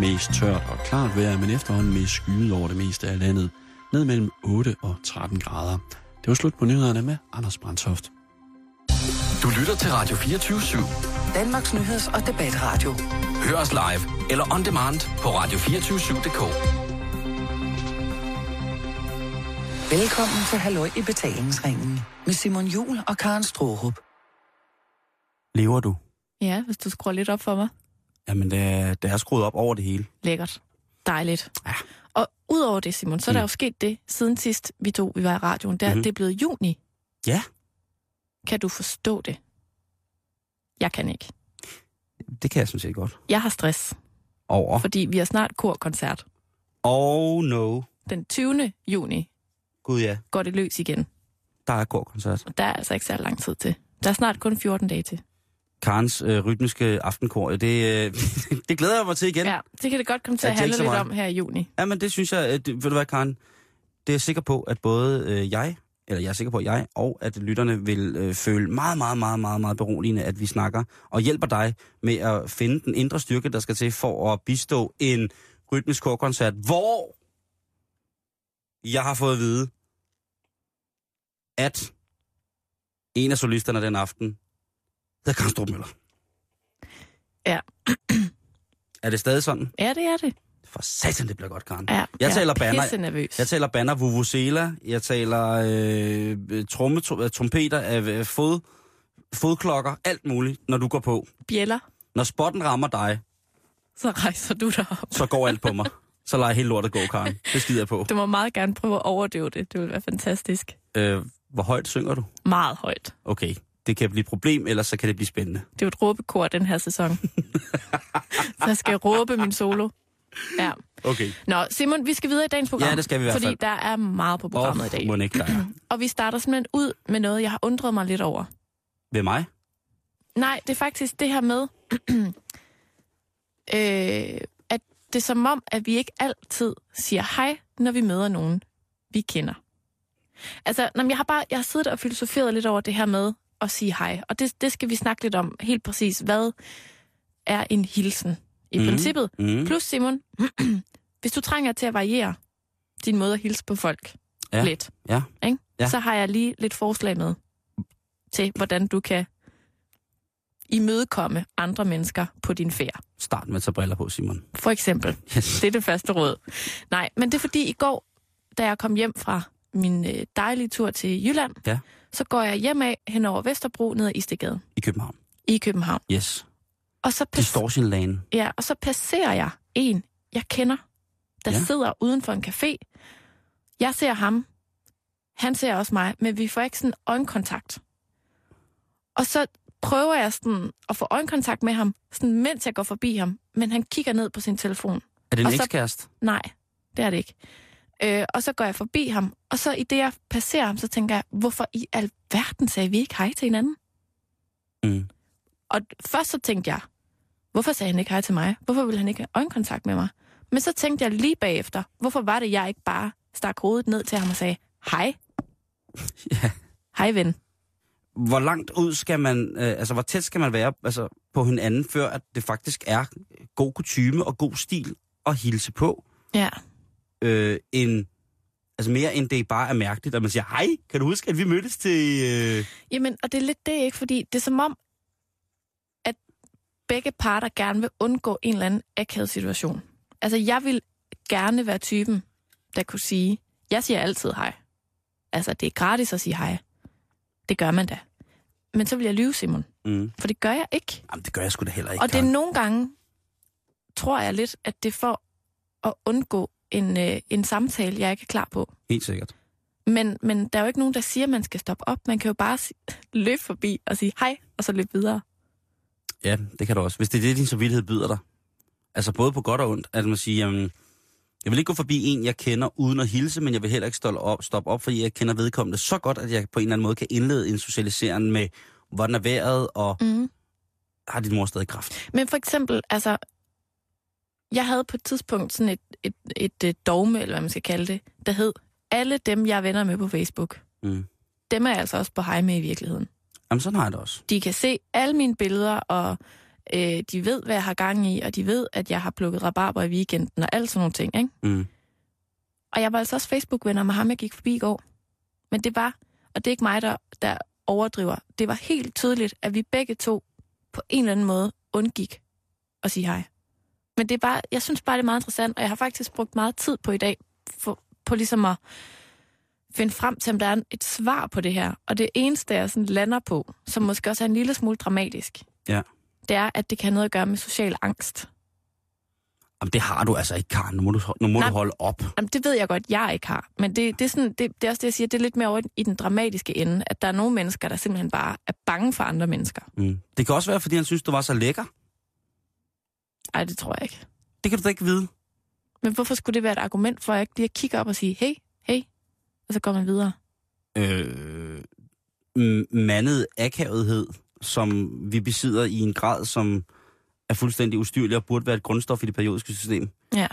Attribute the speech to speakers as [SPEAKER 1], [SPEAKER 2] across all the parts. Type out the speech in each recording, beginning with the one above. [SPEAKER 1] Mest tørt og klart vejr, men efterhånden mest skyet over det meste af landet. Ned mellem 8 og 13 grader. Det var slut på nyhederne med Anders Brandtoft.
[SPEAKER 2] Du lytter til Radio 24-7.
[SPEAKER 3] Danmarks Nyheds- og Debatradio.
[SPEAKER 2] Hør os live eller on demand på radio247.dk.
[SPEAKER 3] Velkommen til Halløj i betalingsringen med Simon Jul og Karen Strohrup.
[SPEAKER 4] Lever du?
[SPEAKER 5] Ja, hvis du skruer lidt op for mig.
[SPEAKER 4] Jamen, det er, det er skruet op over det hele.
[SPEAKER 5] Lækkert. Dejligt.
[SPEAKER 4] Ja. Mm.
[SPEAKER 5] Og udover det, Simon, så er der jo sket det, siden sidst vi to vi var i radioen, der
[SPEAKER 4] Mhm.
[SPEAKER 5] mm. det er blevet juni.
[SPEAKER 4] Ja.
[SPEAKER 5] Kan du forstå det? Jeg kan ikke.
[SPEAKER 4] Det kan jeg sådan set godt.
[SPEAKER 5] Jeg har stress,
[SPEAKER 4] Over.
[SPEAKER 5] fordi vi har snart korkoncert.
[SPEAKER 4] Oh no.
[SPEAKER 5] Den 20. juni
[SPEAKER 4] Gud ja,
[SPEAKER 5] går det løs igen,
[SPEAKER 4] der er korkoncert.
[SPEAKER 5] og der er altså ikke særlig lang tid til. Der er snart kun 14 dage til.
[SPEAKER 4] Karens øh, rytmiske aftenkor, det, øh, det glæder jeg mig til igen.
[SPEAKER 5] Ja, det kan det godt komme til
[SPEAKER 4] Jeg
[SPEAKER 5] at
[SPEAKER 4] tænker
[SPEAKER 5] handle
[SPEAKER 4] så
[SPEAKER 5] lidt
[SPEAKER 4] meget.
[SPEAKER 5] om her i juni.
[SPEAKER 4] Jamen, det synes jeg, at, ved du hvad, Karen? Det er jeg sikker på, at både øh, jeg, eller jeg er sikker på, at jeg, og at lytterne vil øh, føle meget, meget, meget, meget, meget beroligende, at vi snakker og hjælper dig med at finde den indre styrke, der skal til for at bistå en rytmisk korkoncert, hvor jeg har fået at vide, at en af solisterne den aften hedder Karen Strupmøller.
[SPEAKER 5] Ja.
[SPEAKER 4] er det stadig sådan?
[SPEAKER 5] Ja, det er det.
[SPEAKER 4] For satan, det bliver godt, Karen.
[SPEAKER 5] Ja,
[SPEAKER 4] taler
[SPEAKER 5] jeg
[SPEAKER 4] bander.
[SPEAKER 5] er nervøs.
[SPEAKER 4] Jeg taler banner vuvuzela, jeg taler øh, tromme, tr- trompeter, øh, fod, fodklokker, alt muligt, når du går på.
[SPEAKER 5] Bjæller,
[SPEAKER 4] Når spotten rammer dig,
[SPEAKER 5] så rejser du dig op.
[SPEAKER 4] så går alt på mig. Så lader jeg hele lortet gå, Karen. Det skider jeg på.
[SPEAKER 5] Du må meget gerne prøve at overdøve det. Det vil være fantastisk.
[SPEAKER 4] Øh, hvor højt synger du?
[SPEAKER 5] Meget højt.
[SPEAKER 4] Okay, det kan blive et problem, ellers så kan det blive spændende.
[SPEAKER 5] Det er jo et råbekor den her sæson. så jeg skal råbe min solo. Ja.
[SPEAKER 4] Okay.
[SPEAKER 5] Nå, Simon, vi skal videre i dagens program.
[SPEAKER 4] Ja, det skal vi i hvert
[SPEAKER 5] Fordi
[SPEAKER 4] fald.
[SPEAKER 5] der er meget på programmet oh, i dag.
[SPEAKER 4] må den ikke der er.
[SPEAKER 5] Og vi starter simpelthen ud med noget, jeg har undret mig lidt over.
[SPEAKER 4] Ved mig?
[SPEAKER 5] Nej, det er faktisk det her med, øh, at det er som om, at vi ikke altid siger hej, når vi møder nogen, vi kender. Altså, når jeg har bare jeg har siddet og filosoferet lidt over det her med at sige hej, og det, det skal vi snakke lidt om helt præcis. Hvad er en hilsen i
[SPEAKER 4] Mhm.
[SPEAKER 5] mm. princippet?
[SPEAKER 4] Mm.
[SPEAKER 5] Plus, Simon, hvis du trænger til at variere din måde at hilse på folk
[SPEAKER 4] Ja,
[SPEAKER 5] lidt,
[SPEAKER 4] ja,
[SPEAKER 5] ikke?
[SPEAKER 4] ja.
[SPEAKER 5] så har jeg lige lidt forslag med til, hvordan du kan imødekomme andre mennesker på din færd.
[SPEAKER 4] Start med at tage briller på, Simon.
[SPEAKER 5] For eksempel.
[SPEAKER 4] Yes.
[SPEAKER 5] Det er det første råd. Nej, men det er fordi i går, da jeg kom hjem fra min øh, dejlige tur til Jylland,
[SPEAKER 4] Ja.
[SPEAKER 5] så går jeg hjem af hen over Vesterbro ned ad Istegade
[SPEAKER 4] I København.
[SPEAKER 5] i København.
[SPEAKER 4] Yes.
[SPEAKER 5] Og så, pas-
[SPEAKER 4] Distortion Lane.
[SPEAKER 5] ja, og så passerer jeg en, jeg kender, der
[SPEAKER 4] Ja.
[SPEAKER 5] ja. sidder uden for en café. Jeg ser ham, han ser også mig, men vi får ikke sådan øjenkontakt. Og så prøver jeg sådan at få øjenkontakt med ham, sådan mens jeg går forbi ham, men han kigger ned på sin telefon.
[SPEAKER 4] Er det en
[SPEAKER 5] Og så-
[SPEAKER 4] ekskæreste?
[SPEAKER 5] Nej, det er det ikke. Øh, og så går jeg forbi ham, og så i det, jeg passerer ham, så tænker jeg, hvorfor i alverden sagde vi ikke hej til hinanden?
[SPEAKER 4] Mm.
[SPEAKER 5] Og først så tænkte jeg, hvorfor sagde han ikke hej til mig? Hvorfor ville han ikke have øjenkontakt med mig? Men så tænkte jeg lige bagefter, hvorfor var det, jeg ikke bare stak hovedet ned til ham og sagde, hej,
[SPEAKER 4] Ja.
[SPEAKER 5] hej ven.
[SPEAKER 4] hvor langt ud skal man, øh, altså hvor tæt skal man være altså, på hinanden, før at det faktisk er god kutyme og god stil at hilse på,
[SPEAKER 5] Ja,
[SPEAKER 4] øh, end, altså mere end det bare er mærkeligt, at man siger, hej, kan du huske, at vi mødtes til... Øh...
[SPEAKER 5] Jamen, og det er lidt det, ikke? Fordi det er som om, at begge parter gerne vil undgå en eller anden akavet situation. Altså, jeg vil gerne være typen, der kunne sige, jeg siger altid hej. Altså, det er gratis at sige hej. Det gør man da. Men så vil jeg lyve, Simon.
[SPEAKER 4] Mm.
[SPEAKER 5] For det gør jeg ikke.
[SPEAKER 4] Jamen, det gør jeg sgu da heller ikke,
[SPEAKER 5] Og det er nogle gange, tror jeg lidt, at det er for at undgå en, øh, en samtale, jeg ikke er klar på.
[SPEAKER 4] Helt sikkert.
[SPEAKER 5] Men, men der er jo ikke nogen, der siger, at man skal stoppe op. Man kan jo bare si- løbe forbi og sige hej, og så løbe videre.
[SPEAKER 4] Ja, det kan du også. Hvis det er det, din samvittighed byder dig. Altså både på godt og ondt, at man siger, jamen, jeg vil ikke gå forbi en, jeg kender uden at hilse, men jeg vil heller ikke stoppe op, stoppe op fordi jeg kender vedkommende så godt, at jeg på en eller anden måde kan indlede en socialiserende med, hvordan er vejret, og
[SPEAKER 5] Mm.
[SPEAKER 4] har din mor stadig kraft?
[SPEAKER 5] Men for eksempel, altså, jeg havde på et tidspunkt sådan et, et, et, et dogme, eller hvad man skal kalde det, der hed, alle dem, jeg er venner med på Facebook,
[SPEAKER 4] Mm.
[SPEAKER 5] dem er jeg altså også på hej med i virkeligheden.
[SPEAKER 4] Jamen, sådan har jeg det også.
[SPEAKER 5] De kan se alle mine billeder og øh, de ved, hvad jeg har gang i, og de ved, at jeg har plukket rabarber i weekenden og alt sådan nogle ting. Ikke?
[SPEAKER 4] Mm.
[SPEAKER 5] Og jeg var altså også Facebook-venner med ham, jeg gik forbi i går. Men det var, og det er ikke mig, der, der overdriver, det var helt tydeligt, at vi begge to på en eller anden måde undgik at sige hej. Men det er bare, jeg synes bare, det er meget interessant, og jeg har faktisk brugt meget tid på i dag, for, på ligesom at finde frem til, om der er en- et svar på det her. Og det eneste, jeg sådan lander på, som måske også er en lille smule dramatisk,
[SPEAKER 4] Ja.
[SPEAKER 5] det er, at det kan have noget at gøre med social angst.
[SPEAKER 4] Jamen, det har du altså ikke, Karen. Nu må du, nu må
[SPEAKER 5] Nej.
[SPEAKER 4] du holde op.
[SPEAKER 5] Jamen, det ved jeg godt, jeg ikke har. Men det, det, er sådan, det, det er også det, jeg siger, det er lidt mere over i den dramatiske ende, at der er nogle mennesker, der simpelthen bare er bange for andre mennesker.
[SPEAKER 4] Mm. Det kan også være, fordi han synes, du var så lækker.
[SPEAKER 5] Ej, det tror jeg ikke.
[SPEAKER 4] Det kan du da ikke vide.
[SPEAKER 5] Men hvorfor skulle det være et argument for, at jeg ikke lige kigger op og sige, hey, hey, og så går man videre?
[SPEAKER 4] Øh, m- mandet akavethed, som vi besidder i en grad, som er fuldstændig ustyrlig og burde være et grundstof i det periodiske system.
[SPEAKER 5] Ja.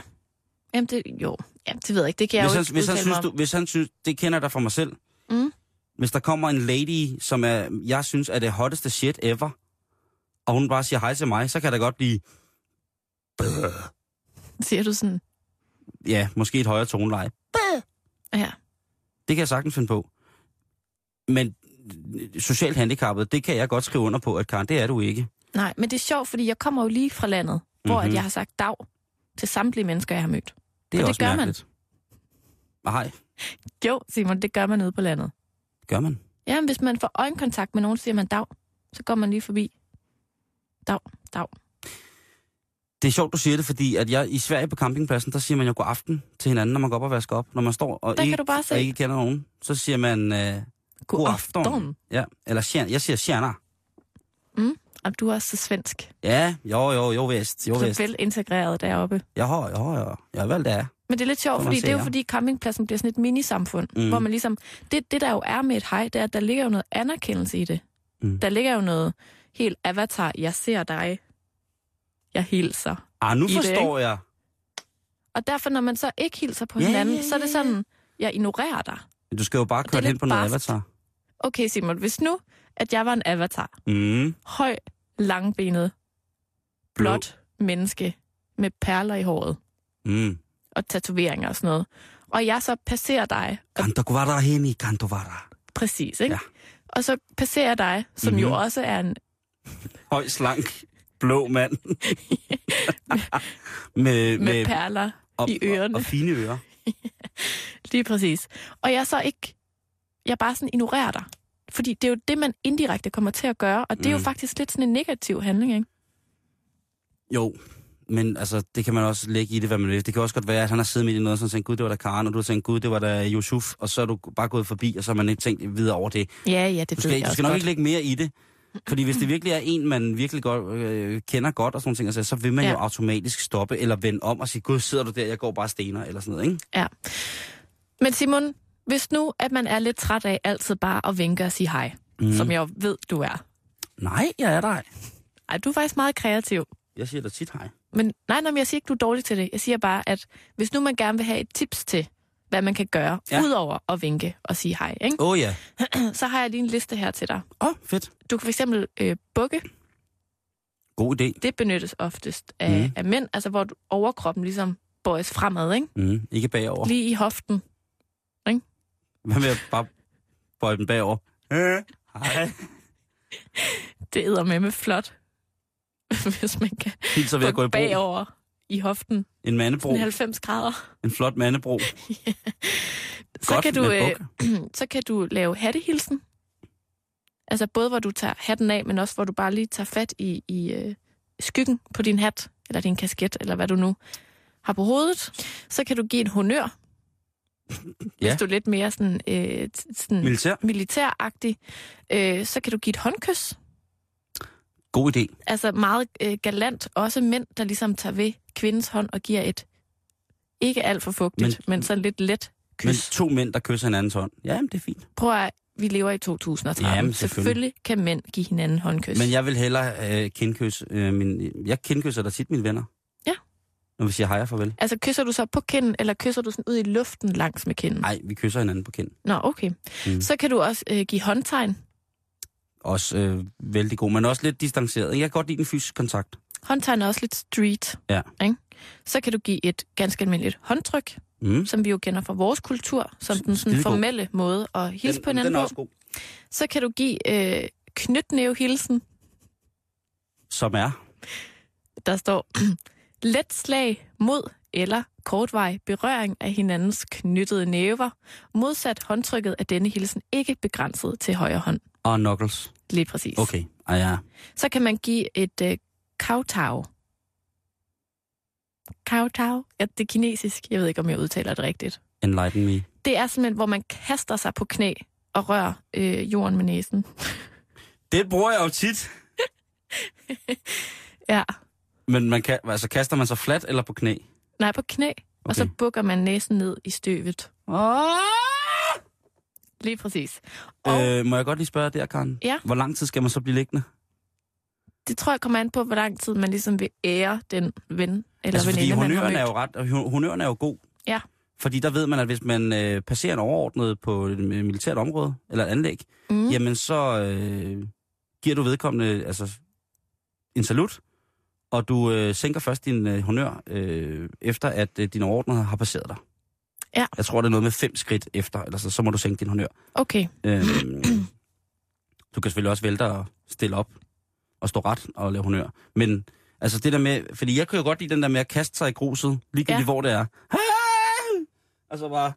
[SPEAKER 5] Jamen, det, jo. Jamen, det ved jeg ikke. Det kan jeg jo
[SPEAKER 4] hvis han,
[SPEAKER 5] ikke
[SPEAKER 4] hvis han
[SPEAKER 5] udtale
[SPEAKER 4] synes,
[SPEAKER 5] mig
[SPEAKER 4] du,
[SPEAKER 5] om.
[SPEAKER 4] hvis han synes, det kender jeg da fra mig selv.
[SPEAKER 5] Mm.
[SPEAKER 4] Hvis der kommer en lady, som er, jeg synes er det hotteste shit ever, og hun bare siger hej til mig, så kan der godt blive,
[SPEAKER 5] Siger du sådan,
[SPEAKER 4] ja, måske et højere toneleje.
[SPEAKER 5] ja.
[SPEAKER 4] Det kan jeg sagtens finde på. Men øh, socialt handicappet, det kan jeg godt skrive under på, at Karen, det er du ikke.
[SPEAKER 5] Nej, men det er sjovt, fordi jeg kommer jo lige fra landet, hvor mm-hmm.
[SPEAKER 4] Mhm.
[SPEAKER 5] at jeg har sagt dag til samtlige mennesker, jeg har mødt.
[SPEAKER 4] Det er
[SPEAKER 5] Og det
[SPEAKER 4] også
[SPEAKER 5] gør man.
[SPEAKER 4] mærkeligt. man. Nej,
[SPEAKER 5] Jo, Simon, det gør man ude på landet.
[SPEAKER 4] gør man.
[SPEAKER 5] Jamen, hvis man får øjenkontakt med nogen, så siger man dag. Så går man lige forbi. Dag, dag.
[SPEAKER 4] Det er sjovt, du siger det, fordi at jeg, i Sverige på campingpladsen, der siger man jo god aften til hinanden, når man går op og vasker op. Når man står og,
[SPEAKER 5] Der
[SPEAKER 4] ikke,
[SPEAKER 5] kan du bare se.
[SPEAKER 4] og ikke kender nogen, så siger man øh, god aften. Ja, eller tjen- jeg siger tjener.
[SPEAKER 5] Jamen, du er også så svensk.
[SPEAKER 4] Ja, jo, jo, jo vist, jo
[SPEAKER 5] Du er
[SPEAKER 4] vist.
[SPEAKER 5] vel integreret deroppe.
[SPEAKER 4] Jeg har, jeg har, jeg har, jeg har valgt det er.
[SPEAKER 5] Men det er lidt sjovt,
[SPEAKER 4] Får
[SPEAKER 5] fordi
[SPEAKER 4] man se,
[SPEAKER 5] det er jo
[SPEAKER 4] ja.
[SPEAKER 5] fordi campingpladsen bliver sådan et minisamfund,
[SPEAKER 4] Mm.
[SPEAKER 5] mm. hvor man ligesom... Det, det, der jo er med et hej, det er, at der ligger jo noget anerkendelse i det.
[SPEAKER 4] Mm.
[SPEAKER 5] Mm. Der ligger jo noget helt avatar. Jeg ser dig. Jeg hilser.
[SPEAKER 4] Ah, nu
[SPEAKER 5] I det,
[SPEAKER 4] forstår jeg.
[SPEAKER 5] Og derfor, når man så ikke hilser på
[SPEAKER 4] Ja,
[SPEAKER 5] hinanden,
[SPEAKER 4] ja,
[SPEAKER 5] så er det
[SPEAKER 4] ja,
[SPEAKER 5] sådan, jeg ignorerer dig.
[SPEAKER 4] Du skal jo bare
[SPEAKER 5] er
[SPEAKER 4] køre
[SPEAKER 5] lidt
[SPEAKER 4] hen på noget
[SPEAKER 5] barsk.
[SPEAKER 4] avatar.
[SPEAKER 5] Okay, Simon, hvis nu, at jeg var en avatar,
[SPEAKER 4] Mm.
[SPEAKER 5] høj, langbenet, blåt menneske med perler i håret
[SPEAKER 4] Mm.
[SPEAKER 5] og tatoveringer og sådan noget, og jeg så passerer dig, og
[SPEAKER 4] Kan du være henne, kan du være
[SPEAKER 5] præcis, ikke?
[SPEAKER 4] Ja.
[SPEAKER 5] Ja. Og så passerer jeg dig, som mm-hmm.
[SPEAKER 4] Mhm.
[SPEAKER 5] jo også er en...
[SPEAKER 4] Høj, slank, blå mand. med,
[SPEAKER 5] med, med perler
[SPEAKER 4] og,
[SPEAKER 5] i ørerne.
[SPEAKER 4] Og, og fine ører.
[SPEAKER 5] Lige præcis. Og jeg så ikke... Jeg bare sådan ignorerer dig. Fordi det er jo det, man indirekte kommer til at gøre, og det er jo
[SPEAKER 4] Mm.
[SPEAKER 5] faktisk lidt sådan en negativ handling, ikke?
[SPEAKER 4] Jo, men altså, det kan man også lægge i det, hvad man vil. Det kan også godt være, at han har siddet midt i noget, og sådan tænkt, gud, det var da Karen, og du har tænkt, gud, det var da Yusuf, og så er du bare gået forbi, og så har man ikke tænkt videre over det.
[SPEAKER 5] Ja, ja, det
[SPEAKER 4] Du
[SPEAKER 5] ved
[SPEAKER 4] skal,
[SPEAKER 5] jeg
[SPEAKER 4] du
[SPEAKER 5] også
[SPEAKER 4] skal nok
[SPEAKER 5] godt.
[SPEAKER 4] ikke lægge mere i det. Fordi hvis det virkelig er en, man virkelig godt, øh, kender godt og sådan nogle ting, altså, så vil man ja.
[SPEAKER 5] Ja.
[SPEAKER 4] jo automatisk stoppe eller vende om og sige, gud, sidder du der, jeg går bare stener, eller sådan noget, ikke?
[SPEAKER 5] Ja. Men Simon, hvis nu, at man er lidt træt af altid bare at vinke og sige hej,
[SPEAKER 4] Mhm.
[SPEAKER 5] mm. som jeg jo ved, du er.
[SPEAKER 4] Nej, jeg er der.
[SPEAKER 5] Ej, du er faktisk meget kreativ.
[SPEAKER 4] Jeg siger da tit hej.
[SPEAKER 5] Men nej, nej, men jeg siger ikke, du er dårlig til det. Jeg siger bare, at hvis nu man gerne vil have et tips til, hvad man kan gøre,
[SPEAKER 4] Ja.
[SPEAKER 5] ja. udover at vinke og sige hej, ikke?
[SPEAKER 4] Åh oh, ja.
[SPEAKER 5] så har jeg lige en liste her til dig.
[SPEAKER 4] Åh, oh, fedt.
[SPEAKER 5] Du kan fx øh, bukke.
[SPEAKER 4] God idé.
[SPEAKER 5] Det benyttes oftest af,
[SPEAKER 4] Mhm.
[SPEAKER 5] mm. af mænd, altså hvor du- overkroppen ligesom bøjes fremad, ikke?
[SPEAKER 4] Mm, ikke bagover.
[SPEAKER 5] Lige i hoften.
[SPEAKER 4] Hvad med at bare bøje den bagover? Øh, hej.
[SPEAKER 5] Det æder med med flot, hvis man kan
[SPEAKER 4] Hilser ved at gå i
[SPEAKER 5] bukke
[SPEAKER 4] bro.
[SPEAKER 5] bagover i hoften.
[SPEAKER 4] En mandebro.
[SPEAKER 5] Sådan 90 grader.
[SPEAKER 4] En flot mandebro.
[SPEAKER 5] Så
[SPEAKER 4] Godt
[SPEAKER 5] kan, du,
[SPEAKER 4] med
[SPEAKER 5] øh, så kan du lave hattehilsen. Altså både hvor du tager hatten af, men også hvor du bare lige tager fat i, i øh, skyggen på din hat, eller din kasket, eller hvad du nu har på hovedet. Så kan du give en honør, ja.
[SPEAKER 4] Ja.
[SPEAKER 5] hvis du er lidt mere sådan, øh, t- sådan
[SPEAKER 4] Militær.
[SPEAKER 5] militæragtig. Øh, så kan du give et håndkys.
[SPEAKER 4] God idé.
[SPEAKER 5] altså meget øh, galant, også mænd, der ligesom tager ved kvindens hånd og giver et ikke alt for fugtigt, men, men sådan lidt let
[SPEAKER 4] Men
[SPEAKER 5] kys.
[SPEAKER 4] to mænd, der kysser hinandens hånd. Ja, jamen, det er fint.
[SPEAKER 5] Men, Prøv at vi lever i 2013.
[SPEAKER 4] Jamen, selvfølgelig.
[SPEAKER 5] selvfølgelig. kan mænd give hinanden håndkys.
[SPEAKER 4] Men jeg vil hellere øh, kindkysse. Øh, min, jeg kindkysser da tit mine venner.
[SPEAKER 5] Ja.
[SPEAKER 4] Når vi siger hej og farvel.
[SPEAKER 5] Altså kysser du så på kinden, eller kysser du sådan ud i luften langs med kinden?
[SPEAKER 4] Nej, vi kysser hinanden på kind.
[SPEAKER 5] Nå, okay.
[SPEAKER 4] Mhm.
[SPEAKER 5] Så kan du også øh, give håndtegn.
[SPEAKER 4] Også øh, vældig god, men også lidt distanceret. Jeg kan godt lide den fysiske kontakt.
[SPEAKER 5] Håndtegn er også lidt street.
[SPEAKER 4] Ja.
[SPEAKER 5] Ikke? Så kan du give et ganske almindeligt håndtryk,
[SPEAKER 4] Mm.
[SPEAKER 5] som vi jo kender fra vores kultur, som den sådan
[SPEAKER 4] Skidegod.
[SPEAKER 5] formelle måde at hilse
[SPEAKER 4] den,
[SPEAKER 5] på hinanden
[SPEAKER 4] den er
[SPEAKER 5] på.
[SPEAKER 4] også god.
[SPEAKER 5] Så kan du give øh, knytnævehilsen,
[SPEAKER 4] Som er.
[SPEAKER 5] der står let slag mod eller kortvej berøring af hinandens knyttede næver. Modsat håndtrykket er denne hilsen ikke begrænset til højre hånd.
[SPEAKER 4] Og Knuckles.
[SPEAKER 5] Lige præcis.
[SPEAKER 4] Okay. Ah, ja.
[SPEAKER 5] Så kan man give et øh, kowtow. Kowtow? Ja, det er kinesisk. Jeg ved ikke, om jeg udtaler det rigtigt.
[SPEAKER 4] Enlighten me.
[SPEAKER 5] Det er simpelthen, hvor man kaster sig på knæ og rører øh, jorden med næsen.
[SPEAKER 4] Det bruger jeg jo tit.
[SPEAKER 5] Ja,
[SPEAKER 4] Men man kan, altså, kaster man sig fladt eller på knæ?
[SPEAKER 5] nej, på knæ. Okay. Og så
[SPEAKER 4] Okay.
[SPEAKER 5] bukker man næsen ned i støvet. Oh! Lige præcis. Og øh.
[SPEAKER 4] Øh, må jeg godt lige spørge der, Karen?
[SPEAKER 5] Ja.
[SPEAKER 4] Hvor lang tid skal man så blive liggende?
[SPEAKER 5] det tror jeg kommer an på, hvor lang tid man ligesom vil ære den ven eller
[SPEAKER 4] altså, fordi
[SPEAKER 5] veninde, man har
[SPEAKER 4] honøren er
[SPEAKER 5] mødt.
[SPEAKER 4] jo ret, og hu- honøren er jo god.
[SPEAKER 5] Ja.
[SPEAKER 4] Fordi der ved man, at hvis man øh, passerer en overordnet på et øh, militært område, eller et anlæg,
[SPEAKER 5] Mm.
[SPEAKER 4] mm. jamen så øh, giver du vedkommende altså, en salut, og du øh, sænker først din øh, honør, øh, efter at øh, din overordnede har passeret dig.
[SPEAKER 5] Ja.
[SPEAKER 4] Jeg tror, det er noget med fem skridt efter, eller så, så må du sænke din honør.
[SPEAKER 5] Okay,
[SPEAKER 4] Øhm, du kan selvfølgelig også vælte og stille op og stå ret og lave honør. Men altså det der med, fordi jeg kan jo godt lide den der med at kaste sig i gruset, ligegyldigt
[SPEAKER 5] Ja.
[SPEAKER 4] ja. hvor det er. Og så bare,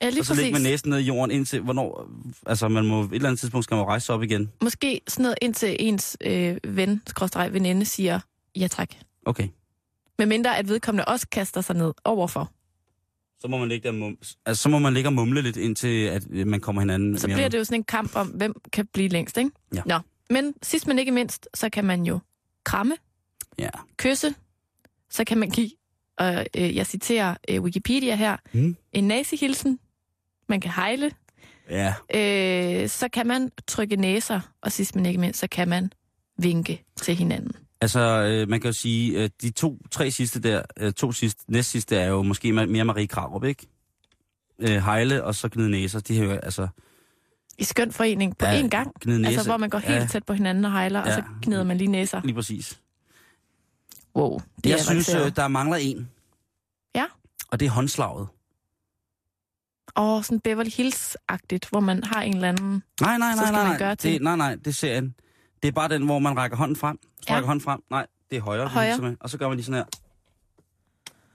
[SPEAKER 5] ja, lige
[SPEAKER 4] og så
[SPEAKER 5] præcis.
[SPEAKER 4] ligge med næsen ned i jorden indtil, hvornår, altså man må, et eller andet tidspunkt skal man jo rejse sig op igen.
[SPEAKER 5] Måske sådan noget, indtil ens øh, ven, skråstreg veninde, siger ja tak.
[SPEAKER 4] Okay.
[SPEAKER 5] Medmindre at vedkommende også kaster sig ned overfor.
[SPEAKER 4] Så må man ligge der og mum, altså, så må man ligge og mumle lidt, indtil at øh, man kommer hinanden
[SPEAKER 5] Så
[SPEAKER 4] mere
[SPEAKER 5] bliver
[SPEAKER 4] med.
[SPEAKER 5] det jo sådan en kamp om, hvem kan blive længst, ikke?
[SPEAKER 4] Ja.
[SPEAKER 5] Nå. Men sidst men ikke mindst, så kan man jo kramme,
[SPEAKER 4] Ja.
[SPEAKER 5] kysse, så kan man give, og øh, jeg citerer øh, Wikipedia her,
[SPEAKER 4] Mm.
[SPEAKER 5] en nazihilsen, man kan hejle,
[SPEAKER 4] Ja.
[SPEAKER 5] øh, så kan man trykke næser, og sidst men ikke mindst, så kan man vinke til hinanden.
[SPEAKER 4] Altså, øh, man kan jo sige, øh, de to, tre sidste der, øh, to sidste, næst sidste er jo måske ma- mere Marie Krarup, ikke? Øh, hejle og så gnide næser, de har jo, altså...
[SPEAKER 5] I skøn forening på
[SPEAKER 4] ja,
[SPEAKER 5] én gang,
[SPEAKER 4] Gnide næser.
[SPEAKER 5] altså hvor man går helt
[SPEAKER 4] Ja,
[SPEAKER 5] tæt på hinanden og hejler, og
[SPEAKER 4] Ja.
[SPEAKER 5] så gnider man lige næser.
[SPEAKER 4] lige præcis.
[SPEAKER 5] Wow, det
[SPEAKER 4] Det
[SPEAKER 5] er
[SPEAKER 4] jeg synes,
[SPEAKER 5] avanceret.
[SPEAKER 4] øh, der mangler en.
[SPEAKER 5] Ja.
[SPEAKER 4] Og det er håndslaget.
[SPEAKER 5] Åh, sådan Beverly Hills-agtigt, hvor man har en eller anden...
[SPEAKER 4] Nej, nej,
[SPEAKER 5] Så
[SPEAKER 4] nej,
[SPEAKER 5] skal
[SPEAKER 4] nej.
[SPEAKER 5] man
[SPEAKER 4] nej.
[SPEAKER 5] gøre ting.
[SPEAKER 4] det, nej, nej, det er serien. Det er bare den, hvor man rækker hånden frem. Så
[SPEAKER 5] Ja.
[SPEAKER 4] ja. rækker hånden frem. Nej, det er højre. det
[SPEAKER 5] Højre.
[SPEAKER 4] hilser Med, og så gør man lige sådan her.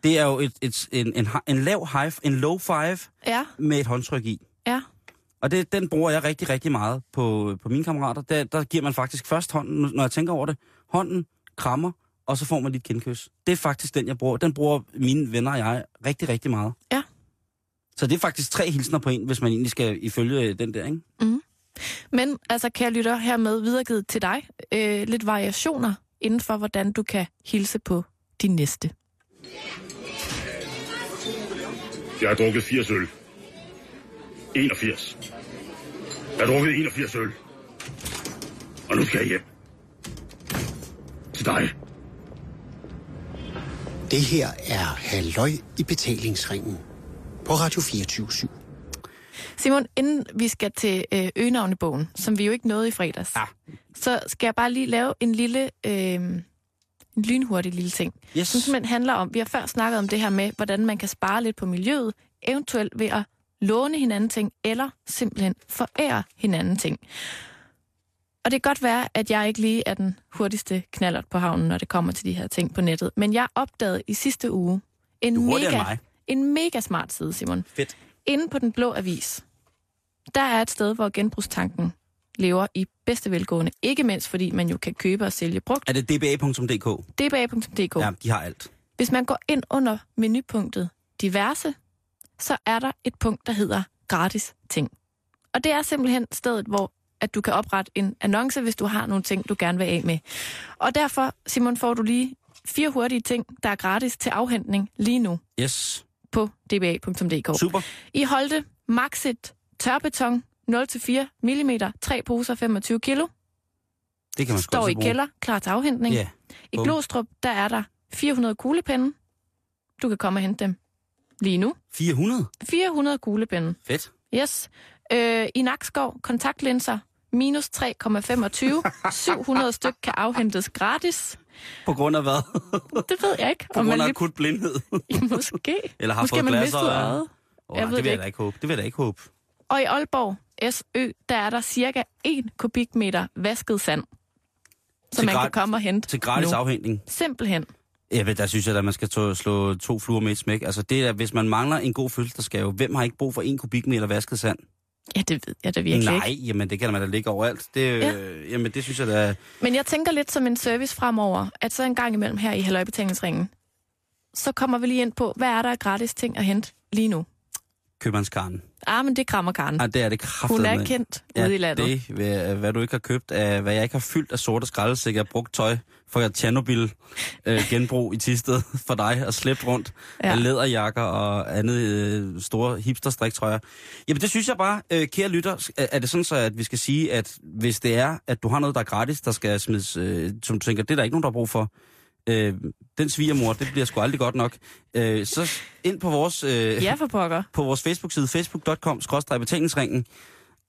[SPEAKER 4] Det er jo et, et, en, en, en lav high, en low five
[SPEAKER 5] Ja,
[SPEAKER 4] med et håndtryk i.
[SPEAKER 5] ja.
[SPEAKER 4] Og det, den bruger jeg rigtig, rigtig meget på, på mine kammerater. Der, der giver man faktisk først hånden, nu- når jeg tænker over det. Hånden krammer, og så får man lidt kindkys. Det er faktisk den, jeg bruger. Den bruger mine venner og jeg rigtig, rigtig meget.
[SPEAKER 5] Ja.
[SPEAKER 4] Så det er faktisk tre hilsner på en, hvis man egentlig skal ifølge øh, den der, ikke?
[SPEAKER 5] Men altså, kære lytter, hermed videregivet til dig øh, lidt variationer inden for, hvordan du kan hilse på din næste.
[SPEAKER 6] Jeg har drukket 80 øl. 81. Jeg har drukket 81 øl. Og nu skal jeg hjem. Til dig.
[SPEAKER 7] Det her er Halløj i betalingsringen på Radio 24
[SPEAKER 5] Simon, inden vi skal til øh, øgenavnebogen, som vi jo ikke nåede i fredags, ja. så skal jeg bare lige lave en lille, øh, en lynhurtig lille ting.
[SPEAKER 4] Yes.
[SPEAKER 5] Som simpelthen handler om, vi har før snakket om det her med, hvordan man kan spare lidt på miljøet, eventuelt ved at låne hinanden ting, eller simpelthen forære hinanden ting. Og det kan godt være, at jeg ikke lige er den hurtigste knallert på havnen, når det kommer til de her ting på nettet. Men jeg opdagede i sidste uge en,
[SPEAKER 4] Du er hurtigere end
[SPEAKER 5] mega,
[SPEAKER 4] mig.
[SPEAKER 5] en mega smart side, Simon.
[SPEAKER 4] Fedt.
[SPEAKER 5] Inde på Den Blå Avis, der er et sted, hvor genbrugstanken lever i bedste velgående. Ikke mindst, fordi man jo kan købe og sælge brugt.
[SPEAKER 4] Er det dba.dk?
[SPEAKER 5] dba.dk.
[SPEAKER 4] Ja, de har alt.
[SPEAKER 5] Hvis man går ind under menupunktet diverse, så er der et punkt, der hedder gratis ting. Og det er simpelthen stedet, hvor at du kan oprette en annonce, hvis du har nogle ting, du gerne vil af med. Og derfor, Simon, får du lige fire hurtige ting, der er gratis til afhentning lige nu
[SPEAKER 4] Yes.
[SPEAKER 5] på dba.dk.
[SPEAKER 4] Super.
[SPEAKER 5] I Holte Maxit tørbeton 0-4 mm, tre poser 25 kilo,
[SPEAKER 4] Det kan man sgu
[SPEAKER 5] står
[SPEAKER 4] også
[SPEAKER 5] i
[SPEAKER 4] bruge.
[SPEAKER 5] kælder, klar til afhentning.
[SPEAKER 4] Ja.
[SPEAKER 5] I
[SPEAKER 4] Bum.
[SPEAKER 5] Glostrup, der er der 400 kuglepinde. Du kan komme og hente dem lige nu.
[SPEAKER 4] 400?
[SPEAKER 5] 400 kuglepinde.
[SPEAKER 4] Fedt.
[SPEAKER 5] Yes. Øh, I Nakskov, kontaktlinser. minus 3,25. 700 styk kan afhentes gratis.
[SPEAKER 4] På grund af hvad?
[SPEAKER 5] Det ved jeg ikke.
[SPEAKER 4] På grund af akut blindhed.
[SPEAKER 5] lige... Måske.
[SPEAKER 4] Eller har
[SPEAKER 5] Måske
[SPEAKER 4] fået
[SPEAKER 5] man
[SPEAKER 4] glasser,
[SPEAKER 5] mistet
[SPEAKER 4] ja.
[SPEAKER 5] øjet.
[SPEAKER 4] Oh,
[SPEAKER 5] Jeg
[SPEAKER 4] nej,
[SPEAKER 5] ved
[SPEAKER 4] det
[SPEAKER 5] det
[SPEAKER 4] vil jeg da ikke håbe. Det vil jeg da ikke håbe.
[SPEAKER 5] Og i Aalborg, SØ, der er der cirka 1 kubikmeter vasket sand, som
[SPEAKER 4] Til
[SPEAKER 5] man kan
[SPEAKER 4] grat-
[SPEAKER 5] komme og hente
[SPEAKER 4] Til gratis
[SPEAKER 5] nu.
[SPEAKER 4] afhængning.
[SPEAKER 5] Simpelthen.
[SPEAKER 4] Ja, men der synes jeg, at man skal to, slå to fluer med et smæk. Altså, det er, hvis man mangler en god fødselsdagsgave, hvem har ikke brug for en kubikmeter vasket sand?
[SPEAKER 5] Ja, det ved jeg da virkelig
[SPEAKER 4] Nej,
[SPEAKER 5] ikke.
[SPEAKER 4] jamen det kan man da ligge overalt. Det,
[SPEAKER 5] Ja.
[SPEAKER 4] øh, jamen det synes jeg da...
[SPEAKER 5] Men jeg tænker lidt som en service fremover, at så en gang imellem her i Halløjbetalingsringen, så kommer vi lige ind på, hvad er der af gratis ting at hente lige nu?
[SPEAKER 4] Købmandskarnen.
[SPEAKER 5] Ah, men det krammer Karen.
[SPEAKER 4] Ah, det er det kraftigt.
[SPEAKER 5] Hun er kendt ja, ude i landet. Det...
[SPEAKER 4] det, hvad, hvad du ikke har købt, af, hvad jeg ikke har fyldt af sorte skraldesækker, brugt tøj fra Tjernobyl øh, genbrug i Tisted for dig og slæbt rundt
[SPEAKER 5] Ja.
[SPEAKER 4] ja. af læderjakker og andet øh, store hipsterstriktrøjer. Jamen det synes jeg bare, øh, kære lytter, er er det sådan så, at vi skal sige, at hvis det er, at du har noget, der er gratis, der skal smides, øh, som du tænker, det er der ikke nogen, der har brug for, øh, den svigermor, det bliver sgu aldrig godt nok, øh, så ind på vores... Øh,
[SPEAKER 5] Ja, for pokker.
[SPEAKER 4] på vores Facebook-side, facebook.com betalingsringen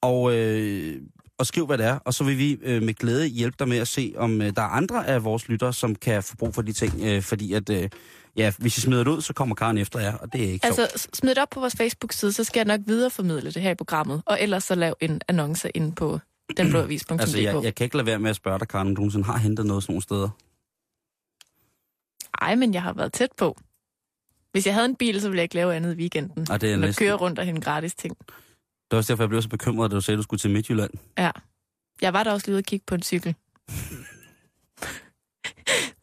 [SPEAKER 4] og, øh, og skriv, hvad det er. Og så vil vi øh, med glæde hjælpe dig med at se, om øh, der er andre af vores lyttere, som kan få brug for de ting. Øh, fordi at, øh, ja, hvis I smider det ud, så kommer Karen efter jer, og det er ikke altså,
[SPEAKER 5] Altså, s- smid det op på vores Facebook-side, så skal jeg nok videreformidle det her i programmet. Og ellers så lav en annonce inde på denblåavis.dk.
[SPEAKER 4] Altså, jeg, jeg kan ikke lade være med at spørge dig, Karen, om du nogensinde har hentet noget sådan nogle steder.
[SPEAKER 5] Ej, men jeg har været tæt på. Hvis jeg havde en bil, så ville jeg ikke lave andet i weekenden.
[SPEAKER 4] Og det er
[SPEAKER 5] end at
[SPEAKER 4] næsten-
[SPEAKER 5] køre rundt og hente gratis ting.
[SPEAKER 4] Det var også derfor, jeg blev så bekymret, da du sagde, at du skulle til Midtjylland.
[SPEAKER 5] Ja. Jeg var der også lige ude og kigge på en cykel.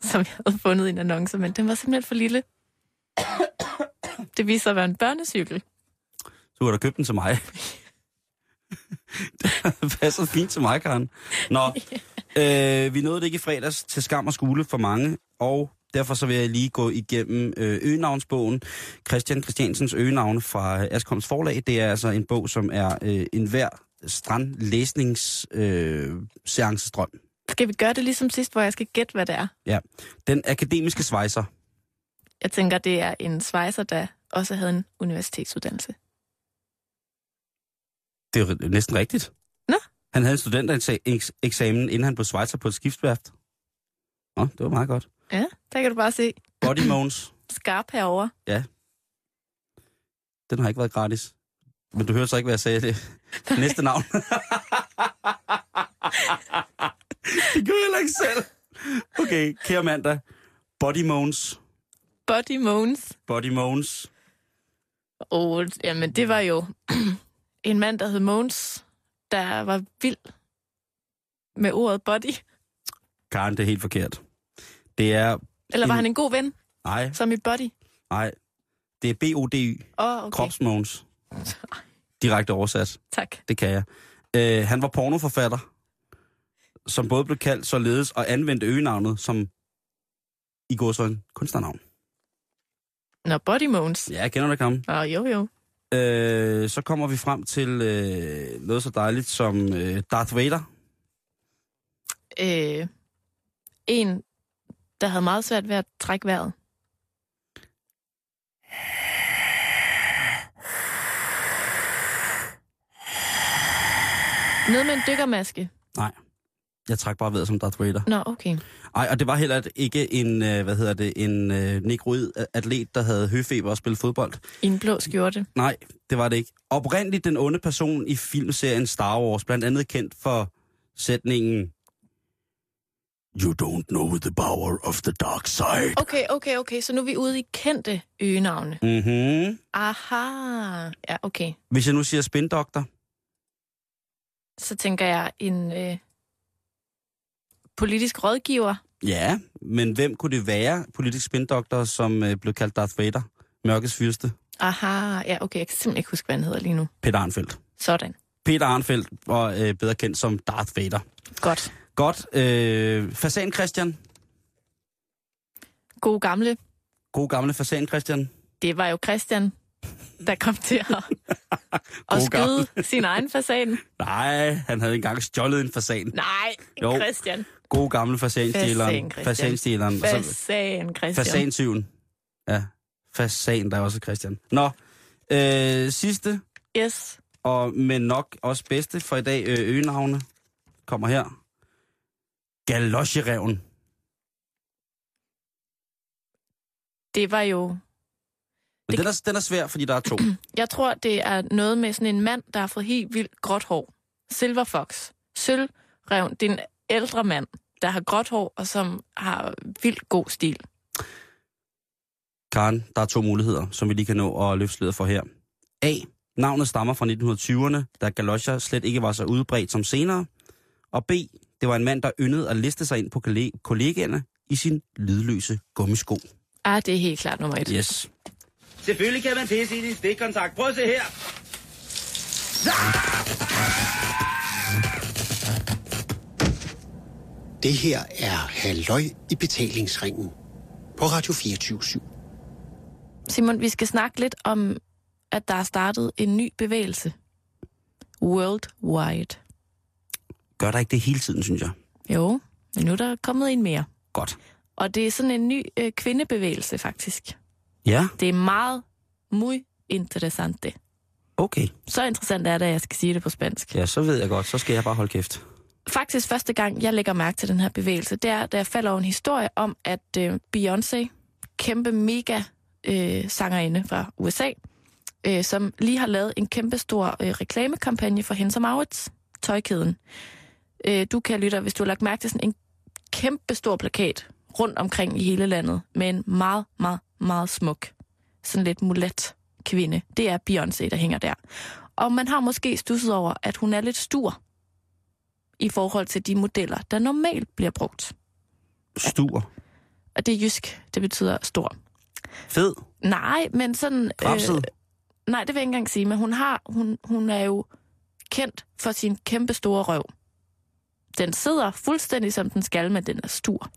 [SPEAKER 5] som jeg havde fundet i en annonce, men den var simpelthen for lille. Det viste sig at være en børnecykel.
[SPEAKER 4] Så kunne du købt den til mig. det passer fint til mig, Karen. Nå, øh, vi nåede det ikke i fredags til skam og skule for mange, og derfor så vil jeg lige gå igennem øh, øgenavnsbogen. Christian Christiansens øgenavne fra øh, Askoms Forlag. Det er altså en bog, som er øh, enhver strandlæsnings øh, seancedrøm.
[SPEAKER 5] Skal vi gøre det ligesom sidst, hvor jeg skal gætte, hvad det er?
[SPEAKER 4] Ja. Den akademiske svejser.
[SPEAKER 5] Jeg tænker, det er en svejser, der også havde en universitetsuddannelse.
[SPEAKER 4] Det er jo næsten rigtigt.
[SPEAKER 5] Nå.
[SPEAKER 4] Han havde en studentereksamen, inden han blev svejser på et skibsværft. Nå, det var meget godt.
[SPEAKER 5] Ja, der kan du bare se.
[SPEAKER 4] Body Moans,
[SPEAKER 5] Skarp herover.
[SPEAKER 4] den har ikke været gratis. Men du hørte så ikke, hvad jeg sagde. Det. Næste navn. det gjorde jeg heller ikke selv. Okay, kære mandag. Body Moans.
[SPEAKER 5] Body Moans.
[SPEAKER 4] Body Moans.
[SPEAKER 5] Og jamen, det var jo en mand, der hed Moans, der var vild med ordet body.
[SPEAKER 4] Karen, det er helt forkert. Det er...
[SPEAKER 5] Eller var
[SPEAKER 4] En-
[SPEAKER 5] han en god ven,
[SPEAKER 4] Nej,
[SPEAKER 5] som i body?
[SPEAKER 4] nej. Det er B-O-D-Y.
[SPEAKER 5] Åh, oh, okay.
[SPEAKER 4] Kropsmoans. Direkte oversat.
[SPEAKER 5] Tak.
[SPEAKER 4] Det kan jeg. Øh, han var pornoforfatter, som både blev kaldt således og anvendte øgenavnet som i går så en kunstnernavn.
[SPEAKER 5] Nå, Body Moans.
[SPEAKER 4] Ja, jeg kender dig ham.
[SPEAKER 5] Åh, oh, jo jo.
[SPEAKER 4] Øh, så kommer vi frem til øh, noget så dejligt som øh, Darth Vader.
[SPEAKER 5] Øh, en, der havde meget svært ved at trække vejret. Noget med en dykkermaske.
[SPEAKER 4] Jeg trak bare ved som Darth Vader.
[SPEAKER 5] Nå, okay.
[SPEAKER 4] Ej, og det var heller ikke en, øh, hvad hedder det, en øh, negroid atlet, der havde høfeber og spillede fodbold.
[SPEAKER 5] I en blå skjorte.
[SPEAKER 4] Nej, det var det ikke. Oprindeligt den onde person i filmserien Star Wars, blandt andet kendt for sætningen You don't know the power of the dark side.
[SPEAKER 5] Okay, okay, okay. Så nu er vi ude i kendte øgenavne.
[SPEAKER 4] Mm-hmm.
[SPEAKER 5] Aha. Ja, okay.
[SPEAKER 4] Hvis jeg nu siger spindokter,
[SPEAKER 5] Så tænker jeg en øh, politisk rådgiver.
[SPEAKER 4] ja, men hvem kunne det være, politisk spindokter, som øh, blev kaldt Darth Vader? Mørkets fyrste,
[SPEAKER 5] Aha. Ja, okay. Jeg kan simpelthen ikke huske, hvad han hedder lige nu.
[SPEAKER 4] Peter Arnfeldt.
[SPEAKER 5] Sådan.
[SPEAKER 4] Peter Arnfeldt var øh, bedre kendt som Darth Vader.
[SPEAKER 5] Godt.
[SPEAKER 4] Godt. Øh, fasan Christian.
[SPEAKER 5] Gode gamle.
[SPEAKER 4] God gamle Fasan Christian.
[SPEAKER 5] Det var jo Christian, der kom til at, at
[SPEAKER 4] Gode
[SPEAKER 5] skyde sin egen fasan.
[SPEAKER 4] Nej, han havde engang stjålet en fasan.
[SPEAKER 5] Nej,
[SPEAKER 4] Jo.
[SPEAKER 5] Christian.
[SPEAKER 4] God gamle
[SPEAKER 5] Fasan,
[SPEAKER 4] fasanstjæleren.
[SPEAKER 5] Christian.
[SPEAKER 4] Fasanstjæleren. Og så-
[SPEAKER 5] Fasan, Christian.
[SPEAKER 4] Fasansyven. Ja. Fasan, der er også Christian. Nå, øh, sidste,
[SPEAKER 5] Yes.
[SPEAKER 4] og, men nok også bedste for i dag, øh, øgenavne. kommer her. Galosjereven.
[SPEAKER 5] Det var jo...
[SPEAKER 4] Men
[SPEAKER 5] Det-
[SPEAKER 4] den er, den er svær, fordi der er to.
[SPEAKER 5] Jeg tror, det er noget med sådan en mand, der har fået helt vildt gråt hår. Silver Fox. Sølvrevn. Det er en ældre mand, der har gråt hår, og som har vildt god stil.
[SPEAKER 4] Karen, der er to muligheder, som vi lige kan nå at løfte sløret for her. A. Navnet stammer fra 1920'erne, da galosjer slet ikke var så udbredt som senere. Og B. Det var en mand, der yndede at liste sig ind på kolle- kollegaerne i sin lydløse gummisko.
[SPEAKER 5] Ah, det er helt klart nummer et.
[SPEAKER 4] Yes.
[SPEAKER 8] Selvfølgelig kan man pisse ind i en stikkontakt. Prøv at se her.
[SPEAKER 7] Det her er Halløj i betalingsringen på Radio 24 /7.
[SPEAKER 5] Simon, vi skal snakke lidt om, at der er startet en ny bevægelse. Worldwide.
[SPEAKER 4] Gør der ikke det hele tiden, synes jeg.
[SPEAKER 5] Jo, men nu er der kommet en mere.
[SPEAKER 4] Godt.
[SPEAKER 5] Og det er sådan en ny øh, kvindebevægelse, faktisk.
[SPEAKER 4] Ja,
[SPEAKER 5] Det er meget, muy interessante.
[SPEAKER 4] okay.
[SPEAKER 5] Så interessant er det, at jeg skal sige det på spansk.
[SPEAKER 4] Ja, så ved jeg godt. Så skal jeg bare holde kæft.
[SPEAKER 5] Faktisk første gang, jeg lægger mærke til den her bevægelse, det er, da jeg falder over en historie om, at øh, Beyoncé, kæmpe mega øh, sangerinde fra USA, øh, som lige har lavet en kæmpe stor øh, reklamekampagne for Hennes Maurits, tøjkæden. Øh, du kan lytte, hvis du har lagt mærke til sådan en kæmpe stor plakat rundt omkring i hele landet, med en meget, meget, meget smuk, sådan lidt mulat kvinde. Det er Beyoncé, der hænger der. Og man har måske stusset over, at hun er lidt stur i forhold til de modeller, der normalt bliver brugt.
[SPEAKER 4] Stur.
[SPEAKER 5] Og det er jysk, det betyder stor.
[SPEAKER 4] Fed.
[SPEAKER 5] Nej, men sådan... øh,
[SPEAKER 4] Rapset.
[SPEAKER 5] nej, det vil jeg ikke engang sige, men hun, har, hun, hun er jo kendt for sin kæmpe store røv. Den sidder fuldstændig som den skal, men den er stor.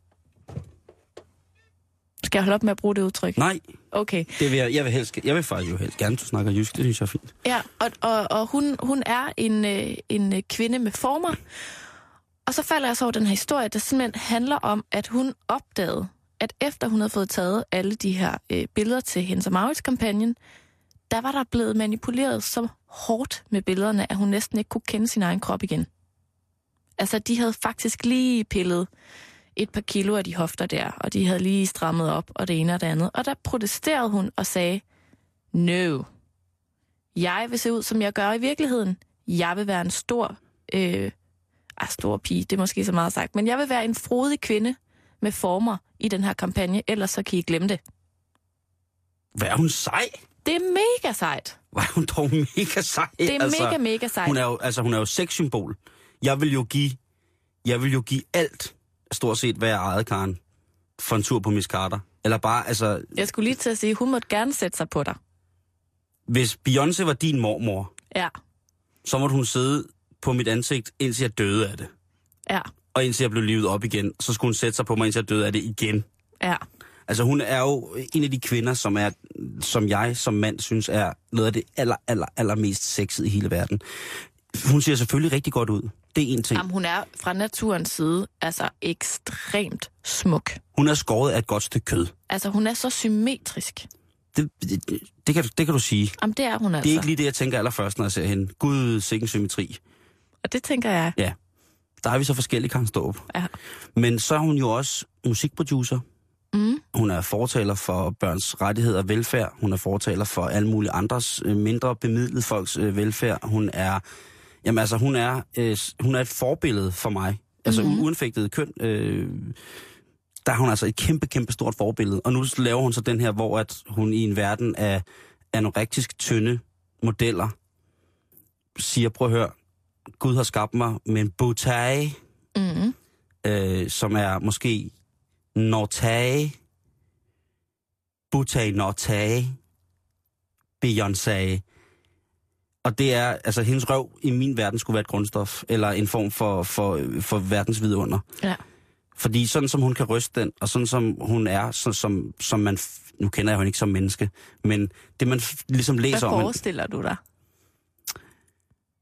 [SPEAKER 5] Skal jeg holde op med at bruge det udtryk?
[SPEAKER 4] Nej,
[SPEAKER 5] Okay.
[SPEAKER 4] det vil jeg, jeg vil helst, jeg vil faktisk jo helst gerne, du snakker jysk, det synes jeg er fint.
[SPEAKER 5] Ja, og, og, og hun, hun er en, øh, en øh, kvinde med former. Og så falder jeg så over den her historie, der simpelthen handler om, at hun opdagede, at efter hun havde fået taget alle de her øh, billeder til hendes og Maurits kampagnen, der var der blevet manipuleret så hårdt med billederne, at hun næsten ikke kunne kende sin egen krop igen. Altså, de havde faktisk lige pillet et par kilo af de hofter der, og de havde lige strammet op, og det ene og det andet. Og der protesterede hun og sagde, no, jeg vil se ud, som jeg gør i virkeligheden. Jeg vil være en stor, øh, ah, stor pige, det er måske så meget sagt, men jeg vil være en frodig kvinde med former i den her kampagne, ellers så kan I glemme det.
[SPEAKER 4] Hvad er hun sej?
[SPEAKER 5] Det er mega sejt.
[SPEAKER 4] Var hun dog mega sej?
[SPEAKER 5] Det er altså, mega, mega sejt.
[SPEAKER 4] Hun er jo, altså, hun er jo sexsymbol. Jeg vil jo give, jeg vil jo give alt, stort set, hvad jeg ejede, Karen, for en tur på Miss Carter. Eller bare, altså,
[SPEAKER 5] Jeg skulle lige til at sige, hun måtte gerne sætte sig på dig.
[SPEAKER 4] hvis Beyoncé var din mormor,
[SPEAKER 5] Ja,
[SPEAKER 4] så måtte hun sidde på mit ansigt, indtil jeg døde af det.
[SPEAKER 5] ja,
[SPEAKER 4] Og indtil jeg blev livet op igen. Så skulle hun sætte sig på mig, indtil jeg døde af det igen.
[SPEAKER 5] ja.
[SPEAKER 4] Altså hun er jo en af de kvinder, som, er, som jeg som mand synes er noget af det aller, aller, aller mest sexede i hele verden. Hun ser selvfølgelig rigtig godt ud. Det er en ting.
[SPEAKER 5] Jamen, hun er fra naturens side altså ekstremt smuk.
[SPEAKER 4] Hun er skåret af et godt stykke kød.
[SPEAKER 5] Altså, hun er så symmetrisk.
[SPEAKER 4] Det, det, det, kan, det kan du sige.
[SPEAKER 5] Jamen, det er hun altså.
[SPEAKER 4] Det er ikke lige det, jeg tænker allerførst, når jeg ser hende. Gud, sikken symmetri.
[SPEAKER 5] Og det tænker jeg,
[SPEAKER 4] Ja, der er vi så forskellige, Karen Ståb.
[SPEAKER 5] ja.
[SPEAKER 4] Men så er hun jo også musikproducer.
[SPEAKER 5] Mm.
[SPEAKER 4] Hun er fortaler for børns rettigheder og velfærd. Hun er fortaler for alle mulige andres øh, mindre bemidlede folks øh, velfærd. Hun er, jamen altså, hun er, øh, s- hun er et forbillede for mig. Altså mm-hmm. uanfægtet køn, øh, der er hun altså et kæmpe, kæmpe stort forbillede. Og nu laver hun så den her, hvor at hun i en verden af anorektisk tynde modeller siger, prøv at høre, Gud har skabt mig med en botaj,
[SPEAKER 5] Mm.
[SPEAKER 4] øh, som er måske Nortage, Butay Nortage, Beyoncé. Og det er, altså hendes røv i min verden skulle være et grundstof, eller en form for, for, for verdens vidunder.
[SPEAKER 5] Ja.
[SPEAKER 4] Fordi sådan som hun kan ryste den, og sådan som hun er, så, som, som man, f- nu kender jeg hende ikke som menneske, men det man f- ligesom
[SPEAKER 5] Hvad
[SPEAKER 4] læser om... hende-
[SPEAKER 5] forestiller du dig?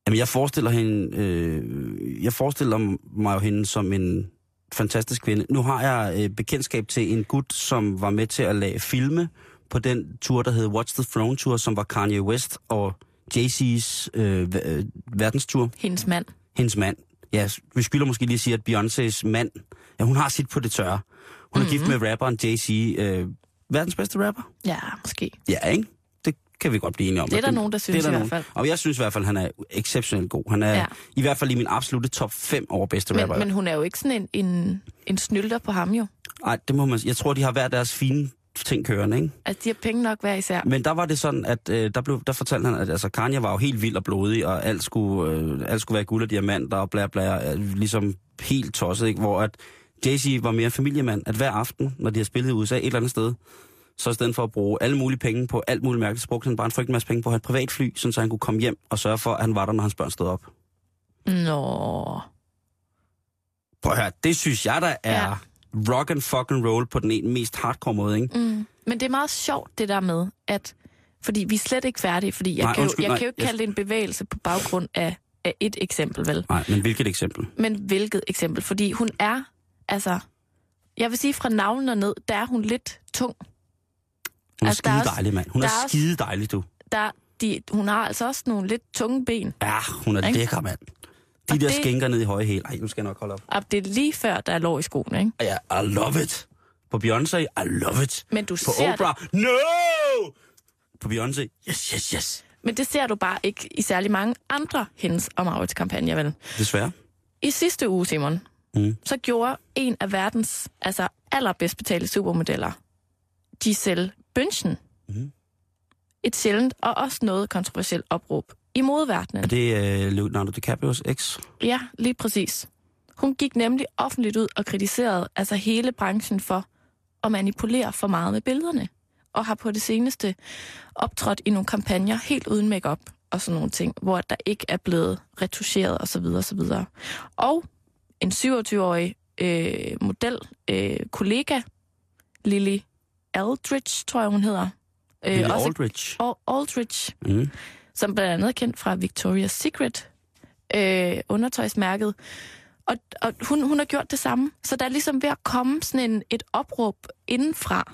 [SPEAKER 4] Jamen, jeg forestiller hende, øh, jeg forestiller mig jo hende som en fantastisk kvinde. Nu har jeg øh, bekendtskab til en gut, som var med til at lave filme på den tur, der hed Watch the Throne Tour, som var Kanye West og Jay-Z's øh, ver- øh, verdenstur.
[SPEAKER 5] Hendes mand.
[SPEAKER 4] Hendes mand, ja, vi skylder måske lige at sige, at Beyoncés mand, ja, hun har sit på det tørre. Hun mm-hmm. er gift med rapperen Jay-Z, øh, verdens bedste rapper.
[SPEAKER 5] Ja, måske.
[SPEAKER 4] Ja, ikke? Det kan vi godt blive enige om.
[SPEAKER 5] Det er
[SPEAKER 4] At
[SPEAKER 5] der nogen, der synes
[SPEAKER 4] det er
[SPEAKER 5] i
[SPEAKER 4] der
[SPEAKER 5] hvert fald.
[SPEAKER 4] Og jeg synes i hvert fald, han er exceptionelt god. Han er
[SPEAKER 5] Ja.
[SPEAKER 4] ja. i hvert fald i min absolute top 5 over bedste
[SPEAKER 5] Men,
[SPEAKER 4] rapper.
[SPEAKER 5] men hun er jo ikke sådan en, en, en snylter på ham jo.
[SPEAKER 4] Ej, det må man... Jeg tror, de har hver deres fine ting kørende, ikke?
[SPEAKER 5] Altså, de har penge nok hver især.
[SPEAKER 4] Men der var det sådan, at øh, der, blev, der fortalte han, at altså, Kanye var jo helt vild og blodig, og alt skulle, øh, alt skulle være guld og diamanter og bla bla, øh, ligesom helt tosset, ikke? hvor at Jay-Z var mere familiemand, at hver aften, når de har spillet i USA et eller andet sted, så i stedet for at bruge alle mulige penge på alt muligt mærkeligt, så brugte han bare en frygtelig masse penge på at have et privatfly, sådan så han kunne komme hjem og sørge for, at han var der, når hans børn stod op.
[SPEAKER 5] Nå.
[SPEAKER 4] Prøv at høre, det synes jeg, der er
[SPEAKER 5] Ja.
[SPEAKER 4] ja. rock and fucking roll på den ene mest hardcore måde, ikke?
[SPEAKER 5] Mm. Men det er meget sjovt, det der med, at... Fordi vi er slet ikke færdige, fordi jeg,
[SPEAKER 4] Nej,
[SPEAKER 5] kan,
[SPEAKER 4] undskyld,
[SPEAKER 5] jo, jeg
[SPEAKER 4] nej,
[SPEAKER 5] kan jo ikke
[SPEAKER 4] jeg-
[SPEAKER 5] kalde det en bevægelse på baggrund af, af et eksempel, vel?
[SPEAKER 4] Nej, men hvilket eksempel?
[SPEAKER 5] Men hvilket eksempel? Fordi hun er, altså... Jeg vil sige, fra navlen og ned, der er hun lidt tung.
[SPEAKER 4] Hun er
[SPEAKER 5] Altså,
[SPEAKER 4] altså,
[SPEAKER 5] der er
[SPEAKER 4] skide
[SPEAKER 5] også-
[SPEAKER 4] dejlig, mand. Hun
[SPEAKER 5] der
[SPEAKER 4] er,
[SPEAKER 5] er også-
[SPEAKER 4] skide dejlig, du.
[SPEAKER 5] Der, de, hun har altså også nogle lidt tunge ben.
[SPEAKER 4] Ja, hun er
[SPEAKER 5] Ikke?
[SPEAKER 4] lækker, mand. De
[SPEAKER 5] Og
[SPEAKER 4] der
[SPEAKER 5] det-
[SPEAKER 4] det... skænker ned i høje hæl. Ej, nu skal jeg nok holde op.
[SPEAKER 5] Og det er lige før, der er lår i skoene, ikke?
[SPEAKER 4] Ja, I love it. På Beyoncé, I love it.
[SPEAKER 5] Men du
[SPEAKER 4] På
[SPEAKER 5] ser
[SPEAKER 4] Oprah, no! På Beyoncé, yes, yes, yes.
[SPEAKER 5] Men det ser du bare ikke i særlig mange andre hendes og Maurits kampagner, vel?
[SPEAKER 4] Desværre.
[SPEAKER 5] I sidste uge, Simon, mm.
[SPEAKER 4] Mm.
[SPEAKER 5] så gjorde en af verdens altså, allerbedst betalte supermodeller, Giselle Bündchen, mm.
[SPEAKER 4] Mhm.
[SPEAKER 5] et sjældent og også noget kontroversielt opråb i modverdenen.
[SPEAKER 4] Er det øh, Leonardo DiCaprio's eks?
[SPEAKER 5] Ja, lige præcis. Hun gik nemlig offentligt ud og kritiserede altså hele branchen for at manipulere for meget med billederne. Og har på det seneste optrådt i nogle kampagner helt uden makeup og sådan nogle ting, hvor der ikke er blevet retuscheret osv. osv. Og en 27-årig øh, model, øh, kollega, Lily Aldridge, tror jeg hun hedder. Øh,
[SPEAKER 4] Øh,
[SPEAKER 5] også-
[SPEAKER 4] Aldridge.
[SPEAKER 5] og Aldridge,
[SPEAKER 4] Mhm.
[SPEAKER 5] som blandt andet er kendt fra Victoria's Secret, øh, undertøjsmærket. Og, og hun, hun har gjort det samme. Så der er ligesom ved at komme sådan en, et opråb indenfra,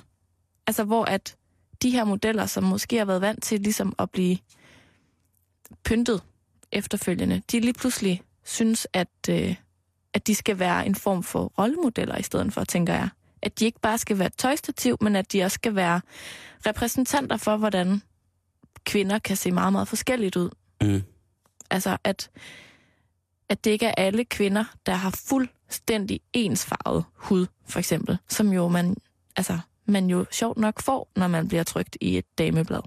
[SPEAKER 5] altså hvor at de her modeller, som måske har været vant til ligesom at blive pyntet efterfølgende, de lige pludselig synes, at, øh, at de skal være en form for rollemodeller i stedet for, tænker jeg. At de ikke bare skal være et tøjstativ, men at de også skal være repræsentanter for, hvordan kvinder kan se meget, meget forskelligt ud.
[SPEAKER 4] Mm.
[SPEAKER 5] Altså, at, at det ikke er alle kvinder, der har fuldstændig ensfarvet hud, for eksempel, som jo man, altså, man jo sjovt nok får, når man bliver trygt i et dameblad,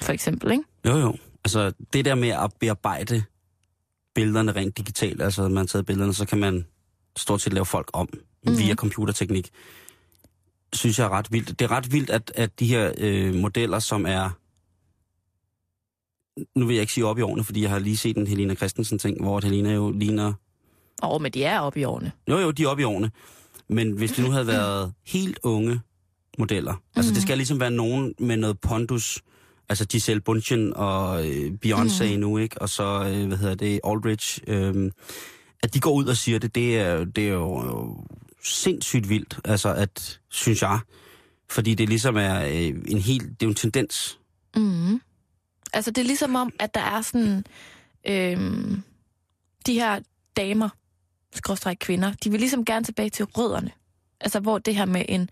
[SPEAKER 5] for eksempel, ikke?
[SPEAKER 4] Jo, jo. Altså, det der med at bearbejde billederne rent digitalt, altså man har taget billederne, så kan man stort set lave folk om mm-hmm. via computerteknik. Synes jeg er ret vildt. Det er ret vildt, at, at de her øh, modeller, som er... Nu vil jeg ikke sige op i årene, fordi jeg har lige set en Helena Christensen-ting, hvor at Helena jo ligner...
[SPEAKER 5] Og men de er oppe i årene.
[SPEAKER 4] Jo, jo, de er oppe i årene. Men hvis det nu havde været helt unge modeller, mm. altså det skal ligesom være nogen med noget pondus, altså Giselle Bundchen og øh, Beyoncé mm. nu, ikke? Og så, øh, hvad hedder det, Aldridge. Øh, at de går ud og siger det, det er, det er jo øh, sindssygt vildt, altså at, synes jeg, fordi det ligesom er øh, en helt, det er jo en tendens.
[SPEAKER 5] Mm. Altså, det er ligesom om, at der er sådan... Øhm, de her damer, skråstræk kvinder, de vil ligesom gerne tilbage til rødderne. Altså, hvor det her med en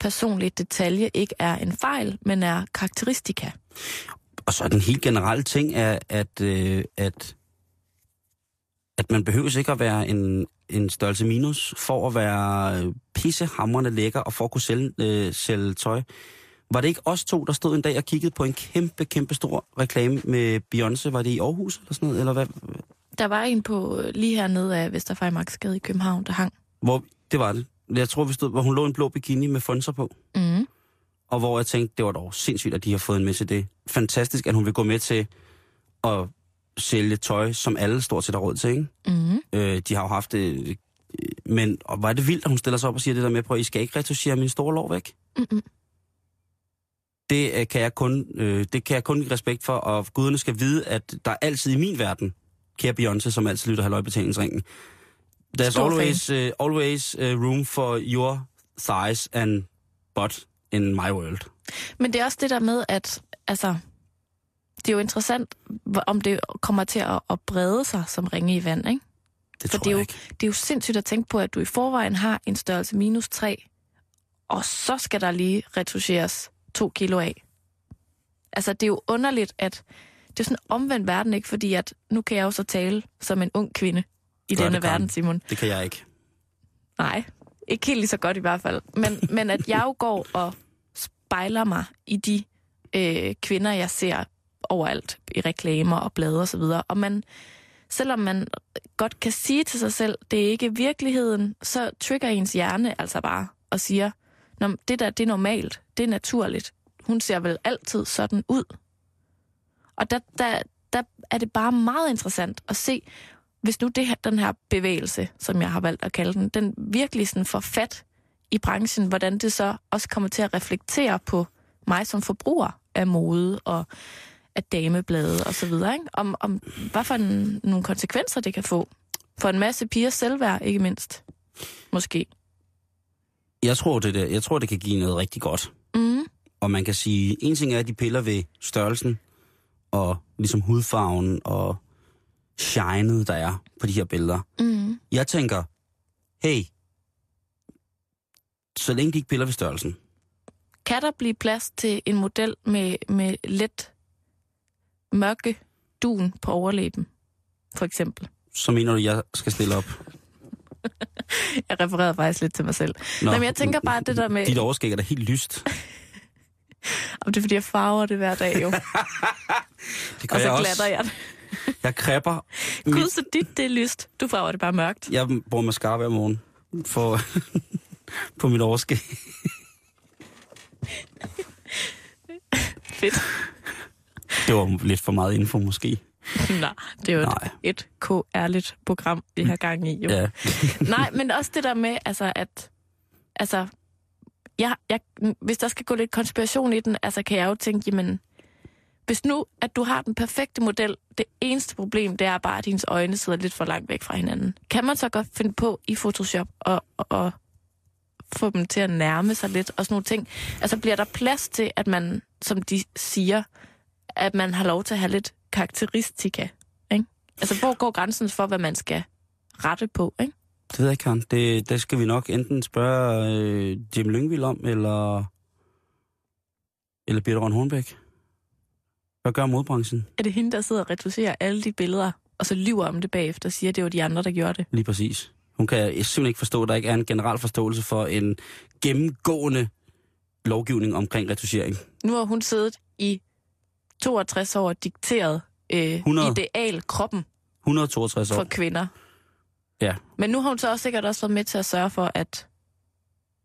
[SPEAKER 5] personlig detalje ikke er en fejl, men er karakteristika.
[SPEAKER 4] Og så er den helt generelle ting, er, at, øh, at, at man behøver ikke at være en, en størrelse minus for at være øh, pissehamrende lækker og for at kunne sælge, øh, sælge tøj. Var det ikke os to, der stod en dag og kiggede på en kæmpe, kæmpe stor reklame med Beyoncé? Var det i Aarhus eller sådan noget? Eller hvad?
[SPEAKER 5] Der var en på øh, lige hernede af Vesterfejmarksgade i København, der hang.
[SPEAKER 4] Hvor, det var det. Jeg tror, vi stod, hvor hun lå i en blå bikini med fonser på.
[SPEAKER 5] Mm.
[SPEAKER 4] Og hvor jeg tænkte, det var dog sindssygt, at de har fået en med til det. Fantastisk, at hun vil gå med til at sælge tøj, som alle stort set har råd til, ikke?
[SPEAKER 5] Mm.
[SPEAKER 4] Øh, de har jo haft det... Øh, men og hvor er det vildt, at hun stiller sig op og siger det der med, prøv at I skal ikke retuschere min store lår væk.
[SPEAKER 5] Mm-mm.
[SPEAKER 4] Det, øh, kan jeg kun, øh, det kan jeg kun give respekt for, og guderne skal vide, at der er altid i min verden, kære Beyoncé, som altid lytter halvøjbetalingsringen, there's
[SPEAKER 5] Stor fan.
[SPEAKER 4] always, uh, always uh, room for your thighs and butt in my world.
[SPEAKER 5] Men det er også det der med, at altså, det er jo interessant, hvor- om det kommer til at, at brede sig som ringe i vand, ikke?
[SPEAKER 1] Det
[SPEAKER 5] For
[SPEAKER 1] tror
[SPEAKER 5] det er,
[SPEAKER 1] jeg
[SPEAKER 5] jo,
[SPEAKER 1] ikke.
[SPEAKER 5] det er jo sindssygt at tænke på, at du i forvejen har en størrelse minus 3, og så skal der lige retuscheres 2 kilo af. Altså, det er jo underligt, at det er sådan en omvendt verden, ikke? Fordi at nu kan jeg jo så tale som en ung kvinde i
[SPEAKER 4] Gør det,
[SPEAKER 5] denne
[SPEAKER 4] Karen.
[SPEAKER 5] verden, Simon.
[SPEAKER 4] Det kan jeg ikke.
[SPEAKER 5] Nej, ikke helt lige så godt i hvert fald. Men, men at jeg jo går og spejler mig i de øh, kvinder, jeg ser overalt i reklamer og blade og så videre. Og man, selvom man godt kan sige til sig selv, det er ikke virkeligheden, så trigger ens hjerne altså bare og siger, Nå, men det der, det er normalt, det er naturligt. Hun ser vel altid sådan ud. Og der, der, der er det bare meget interessant at se, hvis nu det her, den her bevægelse, som jeg har valgt at kalde den, den virkelig sådan får fat i branchen, hvordan det så også kommer til at reflektere på mig som forbruger af mode og af dameblade og så videre, ikke? Om, om hvad for en, nogle konsekvenser det kan få. For en masse piger selvværd, ikke mindst. Måske.
[SPEAKER 4] Jeg tror, det der, jeg tror, det kan give noget rigtig godt.
[SPEAKER 5] Mm.
[SPEAKER 4] Og man kan sige, en ting er, at de piller ved størrelsen, og ligesom hudfarven og shinet, der er på de her billeder.
[SPEAKER 5] Mm.
[SPEAKER 4] Jeg tænker, hey, så længe de ikke piller ved størrelsen,
[SPEAKER 5] Kan der blive plads til en model med, med let mørke dun på overlæben? For eksempel.
[SPEAKER 4] så mener du, at jeg skal stille op.
[SPEAKER 5] Jeg refererede faktisk lidt til mig selv.
[SPEAKER 4] Nå,
[SPEAKER 5] Nå, men jeg tænker bare, at det der med...
[SPEAKER 4] Dit overskæg er da helt lyst.
[SPEAKER 5] Om det er, fordi jeg farver det hver dag, jo.
[SPEAKER 4] Det
[SPEAKER 5] og så glatter jeg det.
[SPEAKER 4] Jeg kræpper.
[SPEAKER 5] Gud, så dit, det er lyst. Du farver det bare mørkt.
[SPEAKER 4] Jeg bruger mascara hver morgen for, på mit overskæg.
[SPEAKER 5] Fedt.
[SPEAKER 4] Det var lidt for meget info måske.
[SPEAKER 5] Nej, det er jo
[SPEAKER 4] Nej.
[SPEAKER 5] et, et ærligt program, vi har gang i, jo.
[SPEAKER 4] Ja.
[SPEAKER 5] Nej, men også det der med, altså, at... Altså, jeg, jeg, hvis der skal gå lidt konspiration i den, altså, kan jeg jo tænke, jamen... Hvis nu, at du har den perfekte model, det eneste problem, det er bare, at dines øjne sidder lidt for langt væk fra hinanden. Kan man så godt finde på i Photoshop og, og, og få dem til at nærme sig lidt og sådan nogle ting? Altså, bliver der plads til, at man, som de siger, at man har lov til at have lidt karakteristika, ikke? Altså, hvor går grænsen for, hvad man skal rette på, ikke?
[SPEAKER 4] Det ved jeg ikke, Karen. Det, det skal vi nok enten spørge øh, Jim Lyngvild om, eller, eller Birte Rønn Hornbæk. Hvad gør modbranchen?
[SPEAKER 5] Er det hende, der sidder og retuscherer alle de billeder, og så lyver om det bagefter og siger, at det var de andre, der gjorde det?
[SPEAKER 4] Lige præcis. Hun kan simpelthen ikke forstå, at der ikke er en generel forståelse for en gennemgående lovgivning omkring retuschering.
[SPEAKER 5] Nu har hun siddet i 62 år og dikteret øh,
[SPEAKER 4] 100.
[SPEAKER 5] ideal kroppen
[SPEAKER 4] 162 år.
[SPEAKER 5] for kvinder.
[SPEAKER 4] Ja.
[SPEAKER 5] Men nu har hun så også sikkert også været med til at sørge for, at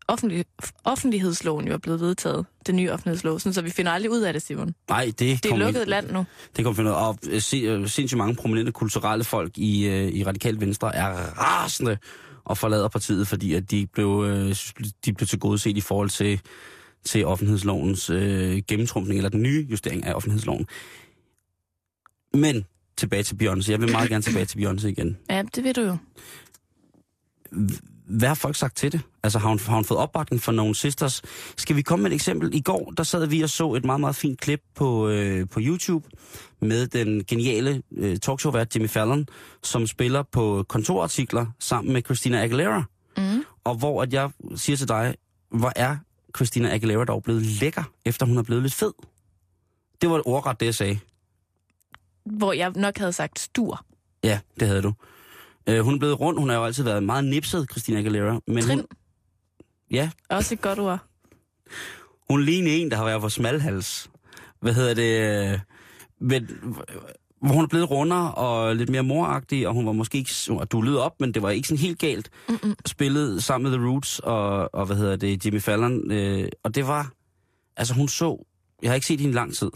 [SPEAKER 5] offentlig, offentlighedsloven jo er blevet vedtaget, den nye offentlighedslov, sådan, så vi finder aldrig ud af det, Simon.
[SPEAKER 4] Nej, det,
[SPEAKER 5] Det er
[SPEAKER 4] kom
[SPEAKER 5] lukket
[SPEAKER 4] ikke-
[SPEAKER 5] land nu.
[SPEAKER 4] Det kommer finde ud af. Og øh, se, øh, sindssygt mange prominente kulturelle folk i, øh, i Radikal Venstre er rasende og forlader partiet, fordi at de blev, øh, synes, de blev til gode set i forhold til, til offentlighedslovens øh, gennemtrumpning, eller den nye justering af offentlighedsloven. Men tilbage til Beyoncé. Jeg vil meget gerne tilbage til Beyoncé igen.
[SPEAKER 5] Ja, det ved du jo.
[SPEAKER 4] Hvad har folk sagt til det? Altså har hun, har hun fået opbakning fra nogle sisters? Skal vi komme med et eksempel? I går, der sad vi og så et meget, meget fint klip på, øh, på YouTube med den geniale øh, talkshow-vært Jimmy Fallon, som spiller på kontorartikler sammen med Christina Aguilera.
[SPEAKER 5] Mm.
[SPEAKER 4] Og hvor at jeg siger til dig, hvor er Christina Aguilera dog blevet lækker, efter hun er blevet lidt fed? Det var ordret det, jeg sagde.
[SPEAKER 5] Hvor jeg nok havde sagt stur.
[SPEAKER 4] Ja, det havde du. Øh, hun er blevet rund, hun har jo altid været meget nipset, Christina Aguilera. Men
[SPEAKER 5] Trim,
[SPEAKER 4] Hun, ja,
[SPEAKER 5] også et godt ord.
[SPEAKER 4] Hun ligner en, der har været for smalhals. Hvad hedder det? øh, Men, hvor hun er blevet rundere og lidt mere moragtig, og hun var måske ikke... Hun var dullet op, men det var ikke sådan helt galt.
[SPEAKER 5] Mm-mm.
[SPEAKER 4] Spillet sammen med The Roots og, og hvad hedder det, Jimmy Fallon. Øh, og det var... Altså hun så... Jeg har ikke set hende i lang tid.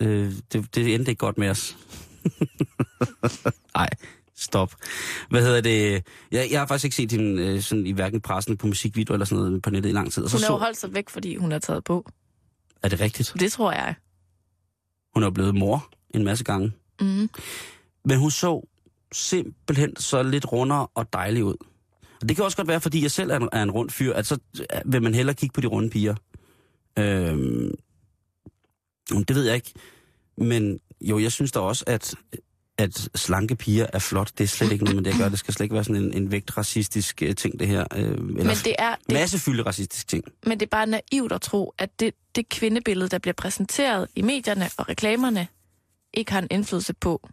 [SPEAKER 4] Øh, det, det endte ikke godt med os. Nej, stop. Hvad hedder det? Jeg, jeg har faktisk ikke set hende øh, sådan i hverken pressen på musikvideo eller sådan noget på nettet i lang tid. Og så,
[SPEAKER 5] Hun har jo
[SPEAKER 4] så
[SPEAKER 5] holdt sig væk, fordi hun er taget på.
[SPEAKER 4] er det rigtigt?
[SPEAKER 5] Det tror jeg.
[SPEAKER 4] Hun er jo blevet mor en masse gange.
[SPEAKER 5] Mm.
[SPEAKER 4] Men hun så simpelthen så lidt rundere og dejlig ud. Og det kan også godt være, fordi jeg selv er en, er en rund fyr, at så vil man hellere kigge på de runde piger. Øhm, det ved jeg ikke. Men jo, jeg synes da også, at at slanke piger er flot. Det er slet ikke noget med det, jeg gør. Det skal slet ikke være sådan en, en vægtracistisk øh, ting, det her. Øh, eller
[SPEAKER 5] Men det, er, det,
[SPEAKER 4] massefylde racistisk ting.
[SPEAKER 5] men det er bare naivt at tro, at det, det kvindebillede, der bliver præsenteret i medierne og reklamerne, ikke har en indflydelse på,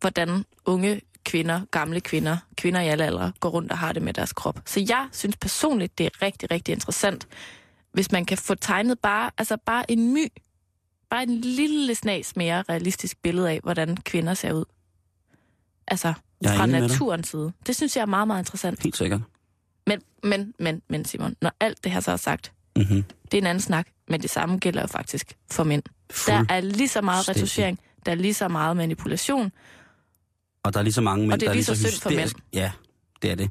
[SPEAKER 5] hvordan unge kvinder, gamle kvinder, kvinder i alle aldre, går rundt og har det med deres krop. Så jeg synes personligt, det er rigtig, rigtig interessant, hvis man kan få tegnet bare, altså bare en my, bare en lille snas mere realistisk billede af, hvordan kvinder ser ud. Altså,
[SPEAKER 4] Jeg er
[SPEAKER 5] fra
[SPEAKER 4] enig med dig.
[SPEAKER 5] naturens side. Det synes jeg er meget, meget interessant.
[SPEAKER 4] Helt sikkert.
[SPEAKER 5] Men, men, men, men Simon, når alt det her så er sagt,
[SPEAKER 4] Mm-hmm.
[SPEAKER 5] det er en anden snak, men det samme gælder jo faktisk for mænd. Der er lige så meget
[SPEAKER 4] Fuldstændig.
[SPEAKER 5] retuschering, der er lige så meget manipulation.
[SPEAKER 4] Og der er lige så mange mænd,
[SPEAKER 5] det er
[SPEAKER 4] der
[SPEAKER 5] lige så synd for mænd.
[SPEAKER 4] hysterisk- Ja, det er det.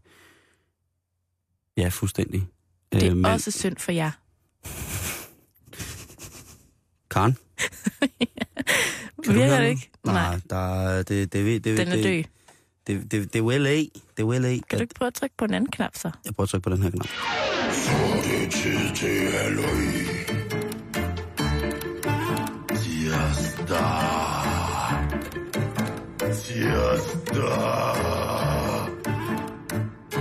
[SPEAKER 4] Ja, fuldstændig.
[SPEAKER 5] Det er
[SPEAKER 4] Øh, men,
[SPEAKER 5] også synd for jer.
[SPEAKER 4] Karen? Kan du
[SPEAKER 5] Virker
[SPEAKER 4] høre
[SPEAKER 5] det
[SPEAKER 4] noget?
[SPEAKER 5] ikke? Nej,
[SPEAKER 4] Ah, der, det, det, det, det,
[SPEAKER 5] den er død.
[SPEAKER 4] Det, det, det, det er jo LA. Det er jo LA.
[SPEAKER 5] Kan du ikke prøve at trykke på en anden knap så?
[SPEAKER 4] Jeg prøver at trykke på den her knap.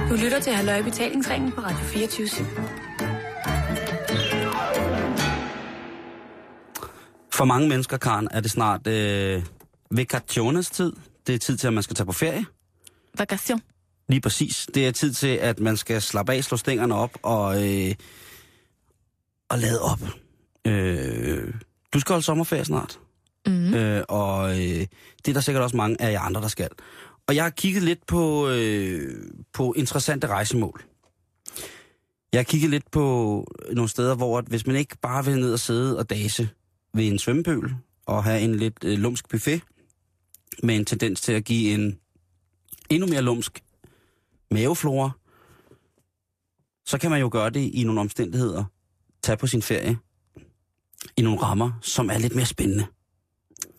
[SPEAKER 9] Du lytter til Halløj i Betalingsringen på Radio 24 /7.
[SPEAKER 4] For mange mennesker, Karen, er det snart øh, vacationes tid. Det er tid til, at man skal tage på ferie.
[SPEAKER 5] Vacation.
[SPEAKER 4] Lige præcis. Det er tid til, at man skal slappe af, slå stængerne op og, øh, og lade op. Øh, du skal holde sommerferie snart.
[SPEAKER 5] Mm.
[SPEAKER 4] Øh, og øh, det er der sikkert også mange af jer andre, der skal. Og jeg har kigget lidt på, øh, på interessante rejsemål. Jeg har kigget lidt på nogle steder, hvor at hvis man ikke bare vil ned og sidde og dase ved en svømmepøl og have en lidt øh, lumsk buffet, med en tendens til at give en endnu mere lumsk maveflora, så kan man jo gøre det i nogle omstændigheder. Tag på sin ferie i nogle rammer, som er lidt mere spændende.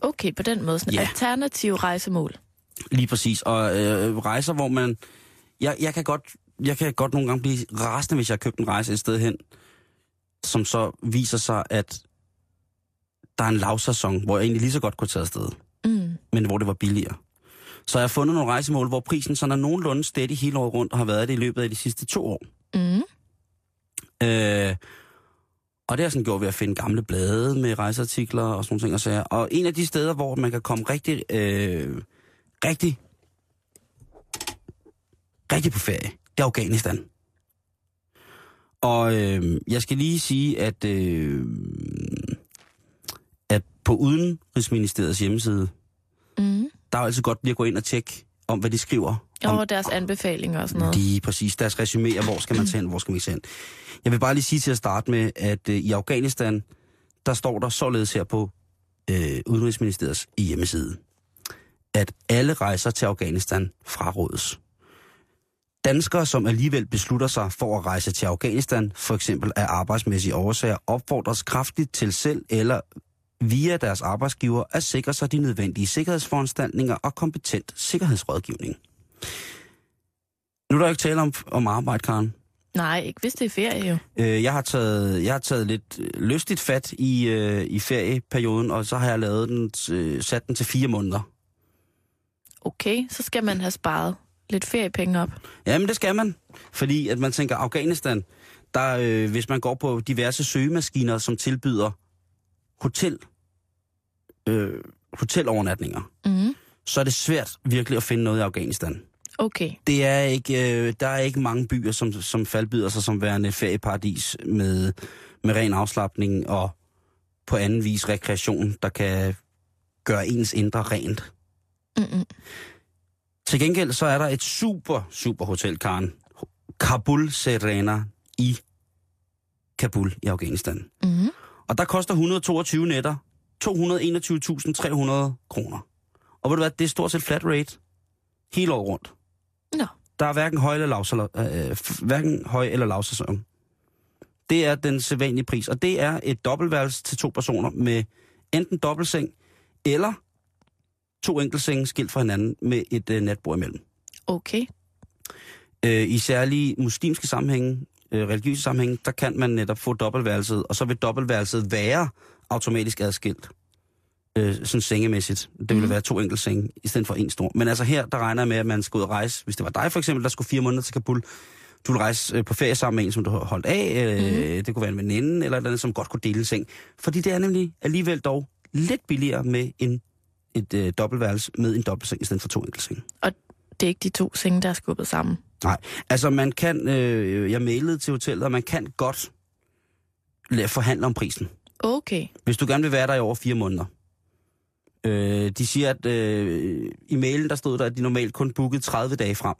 [SPEAKER 5] Okay, på den måde. Sådan
[SPEAKER 4] Ja.
[SPEAKER 5] yeah. alternative rejsemål.
[SPEAKER 4] Lige præcis. Og øh, rejser, hvor man... Jeg, jeg, kan godt, jeg kan godt nogle gange blive rasende, hvis jeg har købt en rejse et sted hen, som så viser sig, at der er en lavsæson, hvor jeg egentlig lige så godt kunne tage afsted,
[SPEAKER 5] Mm.
[SPEAKER 4] men hvor det var billigere. Så jeg har fundet nogle rejsemål, hvor prisen sådan er nogenlunde steady hele året rundt, og har været det i løbet af de sidste to år.
[SPEAKER 5] Mm.
[SPEAKER 4] Øh, og det har jeg sådan gjort ved at finde gamle blade med rejseartikler og sådan nogle ting og sager. Og en af de steder, hvor man kan komme rigtig, øh, rigtig, rigtig på ferie, det er Afghanistan. Og øh, jeg skal lige sige, at, øh, at på Udenrigsministeriets hjemmeside,
[SPEAKER 5] Mm.
[SPEAKER 4] der er jo altid godt lige at gå ind og tjekke om, hvad de skriver. om,
[SPEAKER 5] Og deres anbefalinger og sådan noget.
[SPEAKER 4] Lige præcis. Deres resumé er, hvor skal man tage hen, hvor skal man ikke tage hen. Jeg vil bare lige sige til at starte med, at øh, i Afghanistan, der står der således her på øh, Udenrigsministeriets hjemmeside, at alle rejser til Afghanistan frarådes. Danskere, som alligevel beslutter sig for at rejse til Afghanistan, for eksempel af arbejdsmæssige årsager, opfordres kraftigt til selv eller via deres arbejdsgiver at sikre sig de nødvendige sikkerhedsforanstaltninger og kompetent sikkerhedsrådgivning. Nu er der jo ikke tale om, om arbejde, Karen.
[SPEAKER 5] Nej, ikke hvis det er ferie jo.
[SPEAKER 4] Øh, jeg, har taget, jeg har taget lidt øh, lystigt fat i, øh, i ferieperioden, og så har jeg lavet den, øh, sat den til fire måneder.
[SPEAKER 5] Okay, så skal man have sparet lidt feriepenge op.
[SPEAKER 4] Jamen, det skal man. Fordi at man tænker, Afghanistan, der, øh, hvis man går på diverse søgemaskiner, som tilbyder hotel, øh, hotelovernatninger,
[SPEAKER 5] Mm.
[SPEAKER 4] så er det svært virkelig at finde noget i Afghanistan.
[SPEAKER 5] Okay,
[SPEAKER 4] det er ikke, øh, der er ikke mange byer, som, som faldbyder sig som værende et ferieparadis med, med ren afslappning og på anden vis rekreation, der kan gøre ens indre rent.
[SPEAKER 5] Mm-mm.
[SPEAKER 4] Til gengæld så er der et super, super hotel, Karen. Kabul Serena i Kabul i Afghanistan.
[SPEAKER 5] Mhm.
[SPEAKER 4] Og der koster 122 nætter 221.300 kroner. Og ved du hvad, det er stort set flat rate hele året rundt.
[SPEAKER 5] Nå.
[SPEAKER 4] Der er hverken høj eller, lav, øh, f- hverken høj eller lavsæson. Det er den sædvanlige pris, og det er et dobbeltværelse til to personer med enten dobbeltseng eller to enkeltsenge skilt fra hinanden med et øh, natbord imellem.
[SPEAKER 5] okay.
[SPEAKER 4] Øh, I særlige muslimske sammenhænge, øh, religiøse sammenhænge, der kan man netop få dobbeltværelset, og så vil dobbeltværelset være automatisk adskilt øh, sådan sengemæssigt. Det ville være to enkelte senge, i stedet for en stor. Men altså her, der regner jeg med, at man skal ud og rejse. Hvis det var dig for eksempel, der skulle fire måneder til Kabul, du ville rejse øh, på ferie sammen med en, som du har holdt af. Øh, Det kunne være en veninde eller et eller andet, som godt kunne dele en seng. Fordi det er nemlig alligevel dog lidt billigere med en, et øh, dobbeltværelse med en dobbeltseng, i stedet for to enkelte senge.
[SPEAKER 5] Og det er ikke de to senge, der er skubbet sammen.
[SPEAKER 4] Nej, altså man kan, øh, jeg mailede til hotellet, og man kan godt la- forhandle om prisen.
[SPEAKER 5] Okay.
[SPEAKER 4] Hvis du gerne vil være der i over fire måneder. Øh, de siger, at øh, i mailen der stod der, at de normalt kun bookede 30 dage frem.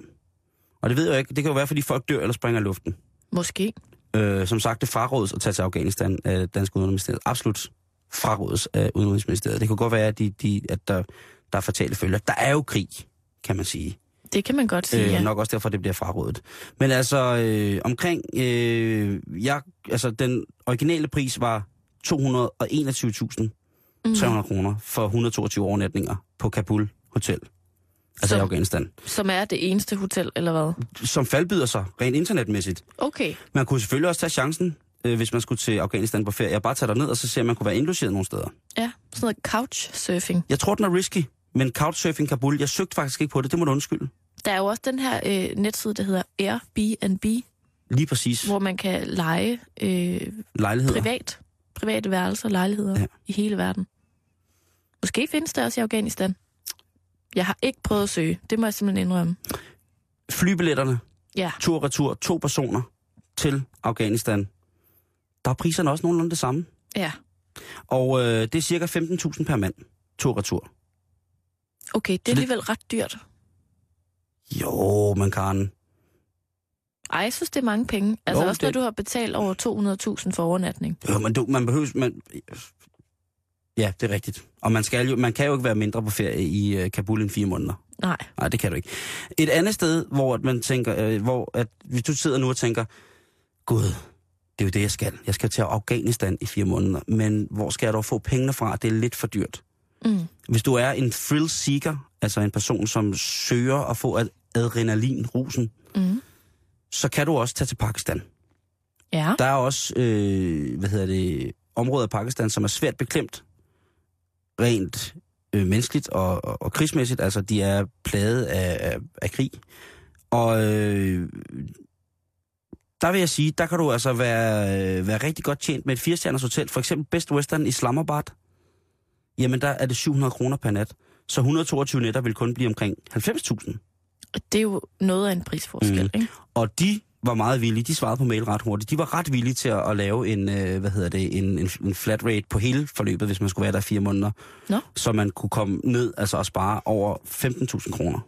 [SPEAKER 4] Og det ved jeg ikke, det kan jo være, fordi folk dør eller springer i luften.
[SPEAKER 5] Måske.
[SPEAKER 4] Øh, som sagt, det frarådes at tage til Afghanistan af Dansk Udenrigsministeriet. Absolut frarådes af Udenrigsministeriet. Det kan godt være, at, de, de, at der, der er fatale følger. Der er jo krig, kan man sige.
[SPEAKER 5] Det kan man godt sige,
[SPEAKER 4] Øh,
[SPEAKER 5] ja.
[SPEAKER 4] nok også derfor, det bliver frarådet. Men altså, øh, omkring... Øh, jeg, altså, den originale pris var 221.300
[SPEAKER 5] Mm. Mhm.
[SPEAKER 4] kroner for 122 overnatninger på Kabul Hotel. Altså
[SPEAKER 5] Som-
[SPEAKER 4] i Afghanistan.
[SPEAKER 5] Som er det eneste hotel, eller hvad?
[SPEAKER 4] Som faldbyder sig, rent internetmæssigt.
[SPEAKER 5] Okay.
[SPEAKER 4] Man kunne selvfølgelig også tage chancen, øh, hvis man skulle til Afghanistan på ferie. Jeg bare tage ned og så se, om man kunne være indlogeret nogle steder.
[SPEAKER 5] Ja, sådan noget couchsurfing.
[SPEAKER 4] Jeg tror, den er risky, men couchsurfing Kabul, jeg søgte faktisk ikke på det, det må du undskylde.
[SPEAKER 5] Der er jo også den her øh, netside, der hedder Airbnb,
[SPEAKER 4] Lige præcis.
[SPEAKER 5] hvor man kan lege øh,
[SPEAKER 4] Lejligheder.
[SPEAKER 5] privat, private værelser og lejligheder
[SPEAKER 4] Ja.
[SPEAKER 5] ja. i hele verden. Måske findes det også i Afghanistan. Jeg har ikke prøvet at søge. Det må jeg simpelthen indrømme.
[SPEAKER 4] Flybilletterne,
[SPEAKER 5] Ja,
[SPEAKER 4] tur og retur, to personer til Afghanistan, der er priserne også nogenlunde det samme.
[SPEAKER 5] ja.
[SPEAKER 4] Og øh, det er cirka 15.000 per mand, tur og retur.
[SPEAKER 5] Okay, det
[SPEAKER 4] det-
[SPEAKER 5] er alligevel ret dyrt.
[SPEAKER 4] Jo, men Karen,
[SPEAKER 5] Ej, jeg synes, det er mange penge. Altså
[SPEAKER 4] Jo,
[SPEAKER 5] jo, også,
[SPEAKER 4] det-
[SPEAKER 5] når du har betalt over 200.000 for overnatning.
[SPEAKER 4] jo, men du, man behøver... Man, ja, det er rigtigt. Og man, skal jo, man kan jo ikke være mindre på ferie i øh, Kabul end fire måneder.
[SPEAKER 5] Nej.
[SPEAKER 4] Nej, det kan du ikke. Et andet sted, hvor at man tænker, øh, hvor at, hvis du sidder nu og tænker, gud, det er jo det, jeg skal. Jeg skal til Afghanistan i fire måneder, men hvor skal jeg dog få pengene fra? Det er lidt for dyrt.
[SPEAKER 5] Mm.
[SPEAKER 4] Hvis du er en thrill seeker, altså en person, som søger at få ad- adrenalinrusen,
[SPEAKER 5] Mm.
[SPEAKER 4] så kan du også tage til Pakistan.
[SPEAKER 5] Ja,
[SPEAKER 4] Der er også, øh, hvad hedder det, områder af Pakistan, som er svært beklemt, rent øh, menneskeligt og, og, og krigsmæssigt. Altså, de er plaget af, af, af krig. Og øh, der vil jeg sige, der kan du altså være, øh, være rigtig godt tjent med et firestjerners hotel. For eksempel Best Western i Islamabad. Jamen, der er det 700 kroner per nat. Så 122 nætter vil kun blive omkring 90.000.
[SPEAKER 5] det er jo noget af en prisforskel,
[SPEAKER 4] Mm.
[SPEAKER 5] mm. ikke?
[SPEAKER 4] Og de var meget villige, de svarede på mail ret hurtigt, de var ret villige til at, at lave en, øh, hvad hedder det, en, en, en flat rate på hele forløbet, hvis man skulle være der i fire måneder.
[SPEAKER 5] Nå.
[SPEAKER 4] Så man kunne komme ned altså og spare over 15.000 kroner.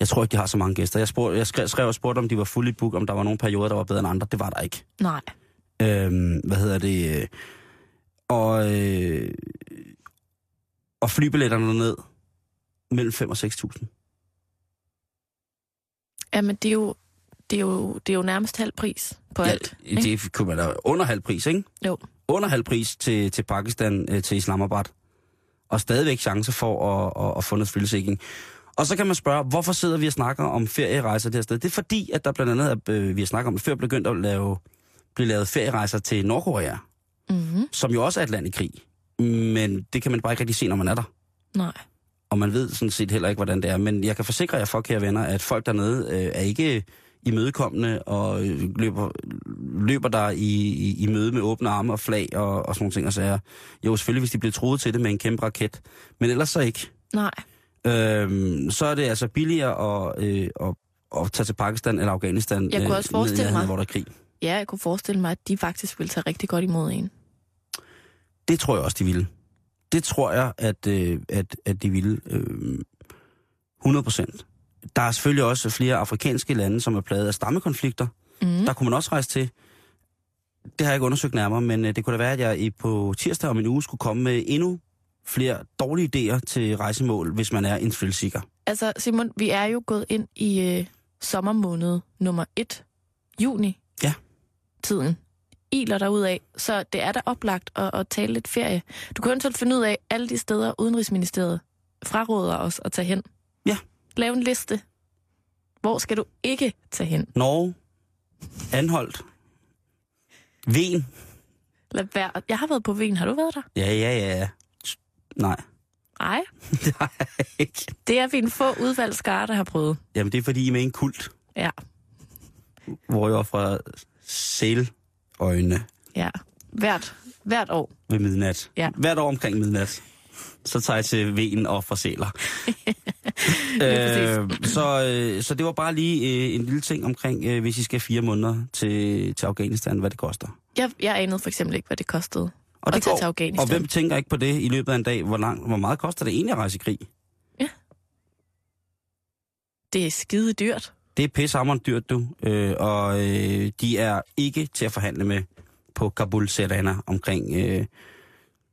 [SPEAKER 4] Jeg tror ikke, de har så mange gæster. Jeg, spurgte, jeg skrev, skrev og spurgte, om de var fuldt book, om der var nogle perioder, der var bedre end andre. Det var der ikke.
[SPEAKER 5] Nej.
[SPEAKER 4] Øhm, hvad hedder det? øh, Og, øh, og flybilletterne ned mellem 5 og 6.000.
[SPEAKER 5] Jamen, det er jo, det er jo, det er jo nærmest halv pris på ja, alt.
[SPEAKER 4] Ja,
[SPEAKER 5] ikke?
[SPEAKER 4] det kunne man da under halv pris, ikke?
[SPEAKER 5] Jo.
[SPEAKER 4] Under halv pris til, til Pakistan, øh, til Islamabad. Og stadigvæk chancer for at, at, at få noget fyldesikring. Og så kan man spørge, hvorfor sidder vi og snakker om ferierejser det her sted? Det er fordi, at der blandt andet, er, øh, vi har snakket om det før, begyndt at lave, blive lavet ferierejser til Nordkorea,
[SPEAKER 5] Mm-hmm.
[SPEAKER 4] som jo også er et land i krig. Men det kan man bare ikke rigtig se, når man er der.
[SPEAKER 5] Nej.
[SPEAKER 4] Og man ved sådan set heller ikke, hvordan det er. Men jeg kan forsikre jer for, kære venner, at folk dernede øh, er ikke imødekommende og øh, løber, løber der i, i, i møde med åbne arme og flag og, og sådan nogle ting og sager. Jo, selvfølgelig, hvis de bliver troet til det med en kæmpe raket. Men ellers så ikke.
[SPEAKER 5] Nej.
[SPEAKER 4] Øhm, så er det altså billigere at, øh, at, at tage til Pakistan eller Afghanistan. øh,
[SPEAKER 5] Jeg kunne også
[SPEAKER 4] ned i
[SPEAKER 5] forestille
[SPEAKER 4] nærheden af,
[SPEAKER 5] mig.
[SPEAKER 4] Hvor der er krig.
[SPEAKER 5] Ja, jeg kunne forestille mig, at de faktisk ville tage rigtig godt imod en.
[SPEAKER 4] Det tror jeg også, de ville. Det tror jeg, at, øh, at, at de ville. Øh, 100 procent. Der er selvfølgelig også flere afrikanske lande, som er plaget af stammekonflikter. Mm. Der kunne man også rejse til. Det har jeg ikke undersøgt nærmere, men øh, det kunne da være, at jeg i- på tirsdag om en uge skulle komme med endnu flere dårlige idéer til rejsemål, hvis man er en thrillseeker.
[SPEAKER 5] Altså, Simon, vi er jo gået ind i øh, sommermåned nummer 1, juni.
[SPEAKER 4] Ja.
[SPEAKER 5] Tiden iler derud af, så det er da oplagt at, at tale lidt ferie. Du kan eventuelt finde ud af alle de steder, Udenrigsministeriet fraråder os at tage hen.
[SPEAKER 4] Ja.
[SPEAKER 5] Lav en liste. Hvor skal du ikke tage hen?
[SPEAKER 4] Norge, Anholdt, Ven.
[SPEAKER 5] Lad være. Jeg har været på Ven. Har du været der?
[SPEAKER 4] Ja, ja, ja. Nej,
[SPEAKER 5] Nej,
[SPEAKER 4] det har jeg ikke.
[SPEAKER 5] det er vi en få udvalgt skare, der har prøvet.
[SPEAKER 4] Jamen, det er fordi, I er med i en kult,
[SPEAKER 5] Ja,
[SPEAKER 4] hvor jeg fra sæløjne
[SPEAKER 5] ja. Hvert, hvert år.
[SPEAKER 4] ved midnat.
[SPEAKER 5] Ja.
[SPEAKER 4] Hvert år omkring midnat. Så tager jeg til Ven og fra sæler.
[SPEAKER 5] Lige
[SPEAKER 4] øh, så, øh, så det var bare lige øh, en lille ting omkring, øh, hvis I skal fire måneder til, til Afghanistan, hvad det koster.
[SPEAKER 5] Jeg, jeg anede for eksempel ikke, hvad det kostede.
[SPEAKER 4] Og
[SPEAKER 5] At tage til Afghanistan.
[SPEAKER 4] Og hvem tænker ikke på det i løbet af en dag? Hvor, lang, hvor meget koster det egentlig at rejse i krig?
[SPEAKER 5] Det er skide dyrt.
[SPEAKER 4] Det er pissehammerende dyrt, du. Øh, og øh, de er ikke til at forhandle med på Kabul Serana omkring øh,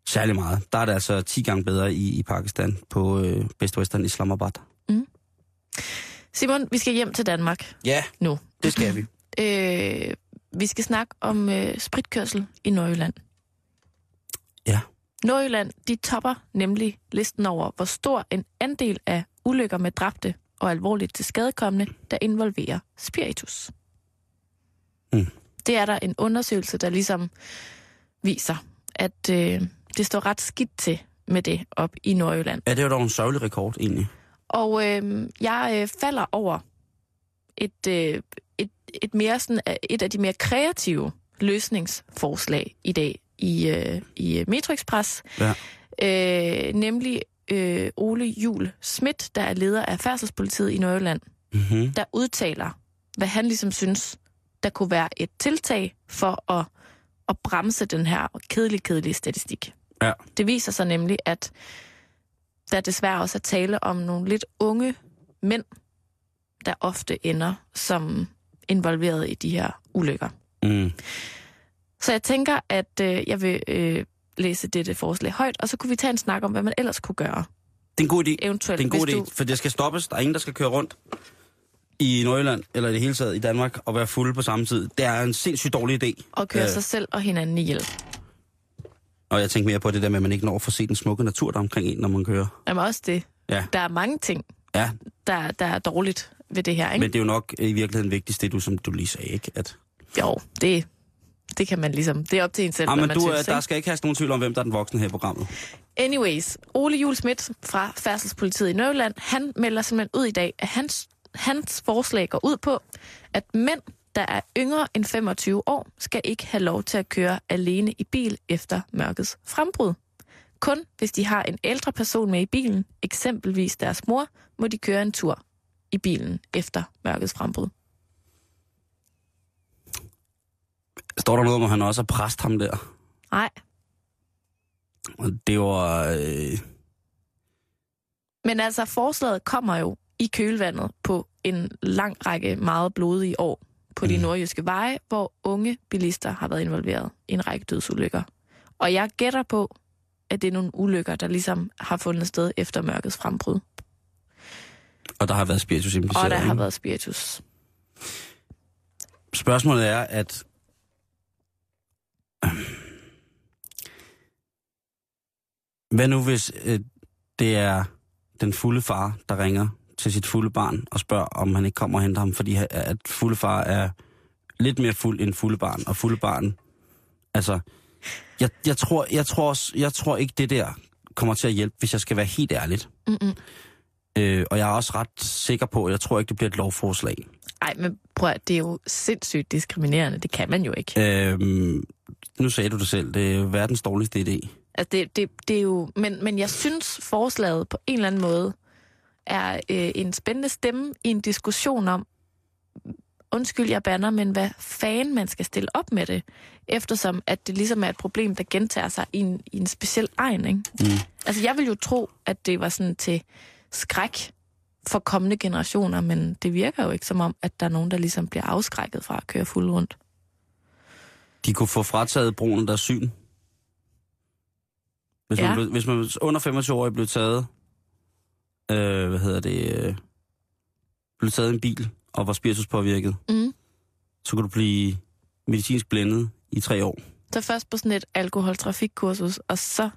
[SPEAKER 4] særlig meget. Der er det altså 10 gange bedre i, i Pakistan på øh, Best Western Islamabad.
[SPEAKER 5] Simon, vi skal hjem til Danmark
[SPEAKER 4] Ja,
[SPEAKER 5] nu.
[SPEAKER 4] det skal vi.
[SPEAKER 5] Øh, vi skal snakke om øh, spritkørsel i Nordjylland.
[SPEAKER 4] Ja.
[SPEAKER 5] Nordjylland, de topper nemlig listen over, hvor stor en andel af ulykker med dræbte og alvorligt til skadekommende, der involverer spiritus.
[SPEAKER 4] Mm.
[SPEAKER 5] Det er der en undersøgelse, der ligesom viser, at øh, det står ret skidt til med det op i Nordjylland.
[SPEAKER 4] Ja, det er jo dog en sørgelig rekord egentlig.
[SPEAKER 5] Og øh, jeg øh, falder over et, øh, et, et, mere sådan, øh, et af de mere kreative løsningsforslag i dag i, øh, i øh, Metro Express.
[SPEAKER 4] Ja.
[SPEAKER 5] Øh, nemlig øh, Ole Jul Schmidt, der er leder af Færdselspolitiet i Nordjylland,
[SPEAKER 4] Mm-hmm.
[SPEAKER 5] der udtaler, hvad han ligesom synes, der kunne være et tiltag for at, at bremse den her kedelige, kedelige statistik.
[SPEAKER 4] Ja.
[SPEAKER 5] Det viser sig nemlig, at der desværre også er tale om nogle lidt unge mænd, der ofte ender som involveret i de her ulykker.
[SPEAKER 4] Mm.
[SPEAKER 5] Så jeg tænker, at øh, jeg vil øh, læse dette forslag højt, og så kunne vi tage en snak om, hvad man ellers kunne gøre.
[SPEAKER 4] Det er en god idé.
[SPEAKER 5] Eventuelt,
[SPEAKER 4] det er en god
[SPEAKER 5] hvis
[SPEAKER 4] idé,
[SPEAKER 5] du-
[SPEAKER 4] for det skal stoppes. Der er ingen, der skal køre rundt i Nordjylland, eller i det hele taget i Danmark, og være fulde på samme tid. Det er en sindssygt dårlig idé.
[SPEAKER 5] Og køre
[SPEAKER 4] Ja.
[SPEAKER 5] ja. sig selv og hinanden ihjel.
[SPEAKER 4] Og jeg tænker mere på det der med, at man ikke når at få set den smukke natur, der er omkring en, når man kører.
[SPEAKER 5] Jamen også det.
[SPEAKER 4] Ja.
[SPEAKER 5] Der er mange ting,
[SPEAKER 4] Ja,
[SPEAKER 5] der, der er dårligt ved det her, ikke?
[SPEAKER 4] Men det er jo nok øh, i virkeligheden vigtigst, det du, som du lige sagde, ikke? At,
[SPEAKER 5] Jo, det, det kan man ligesom. Det er op til en selv,
[SPEAKER 4] ah,
[SPEAKER 5] hvad
[SPEAKER 4] men
[SPEAKER 5] man
[SPEAKER 4] du,
[SPEAKER 5] synes.
[SPEAKER 4] øh,
[SPEAKER 5] ikke?
[SPEAKER 4] der skal ikke have nogen tvivl om, hvem der er den voksne her i programmet.
[SPEAKER 5] Anyways, Ole Juhl Schmidt fra Færdselspolitiet i Nørreland, han melder simpelthen ud i dag, at hans, hans forslag går ud på, at mænd, der er yngre end 25 år, skal ikke have lov til at køre alene i bil efter mørkets frembrud. Kun hvis de har en ældre person med i bilen, eksempelvis deres mor, må de køre en tur i bilen efter mørkets frembrud.
[SPEAKER 4] Står der noget om, at han også er præst ham der?
[SPEAKER 5] Nej,
[SPEAKER 4] Og Det var... Øh,
[SPEAKER 5] Men altså, forslaget kommer jo i kølvandet på en lang række meget blodige år på de
[SPEAKER 4] Mm.
[SPEAKER 5] nordjyske veje, hvor unge bilister har været involveret i en række dødsulykker. Og jeg gætter på, at det er nogle ulykker, der ligesom har fundet sted efter mørkets frembrud.
[SPEAKER 4] og der har været spiritus impliceret.
[SPEAKER 5] Og der har
[SPEAKER 4] ikke?
[SPEAKER 5] været spiritus.
[SPEAKER 4] Spørgsmålet er, at... Hvad nu, hvis øh, det er den fulde far, der ringer til sit fulde barn og spørger, om han ikke kommer og henter ham, fordi ha- at fulde far er lidt mere fuld end fulde barn, og fulde barn... Altså, jeg, jeg, tror, jeg, tror, også- jeg tror ikke, det der kommer til at hjælpe, hvis jeg skal være helt ærligt.
[SPEAKER 5] Mm-mm.
[SPEAKER 4] Øh, og jeg er også ret sikker på, at jeg tror ikke, det bliver et lovforslag.
[SPEAKER 5] Ej, men prøv at, det er jo sindssygt diskriminerende. Det kan man jo ikke.
[SPEAKER 4] Øhm, nu sagde du det selv, det er verdens dårligste idé.
[SPEAKER 5] Altså, det, det, det er jo... Men, men jeg synes, forslaget på en eller anden måde er øh, en spændende stemme i en diskussion om, undskyld, jeg banner, men hvad fanden man skal stille op med det, eftersom at det ligesom er et problem, der gentager sig i en, i en speciel egen, ikke? Mm. Altså, jeg vil jo tro, at det var sådan til skræk for kommende generationer, men det virker jo ikke som om, at der er nogen, der ligesom bliver afskrækket fra at køre fuld rundt.
[SPEAKER 4] De kunne få frataget brugen af deres syn. Hvis, ja.
[SPEAKER 5] Ja.
[SPEAKER 4] man, blev- hvis man under 25 år blev taget, øh, hvad hedder det, øh, blev taget i en bil og var spirituspåvirket,
[SPEAKER 5] Mm.
[SPEAKER 4] så kunne du blive medicinsk blændet i tre år.
[SPEAKER 5] Så først på sådan et alkoholtrafikkursus, og så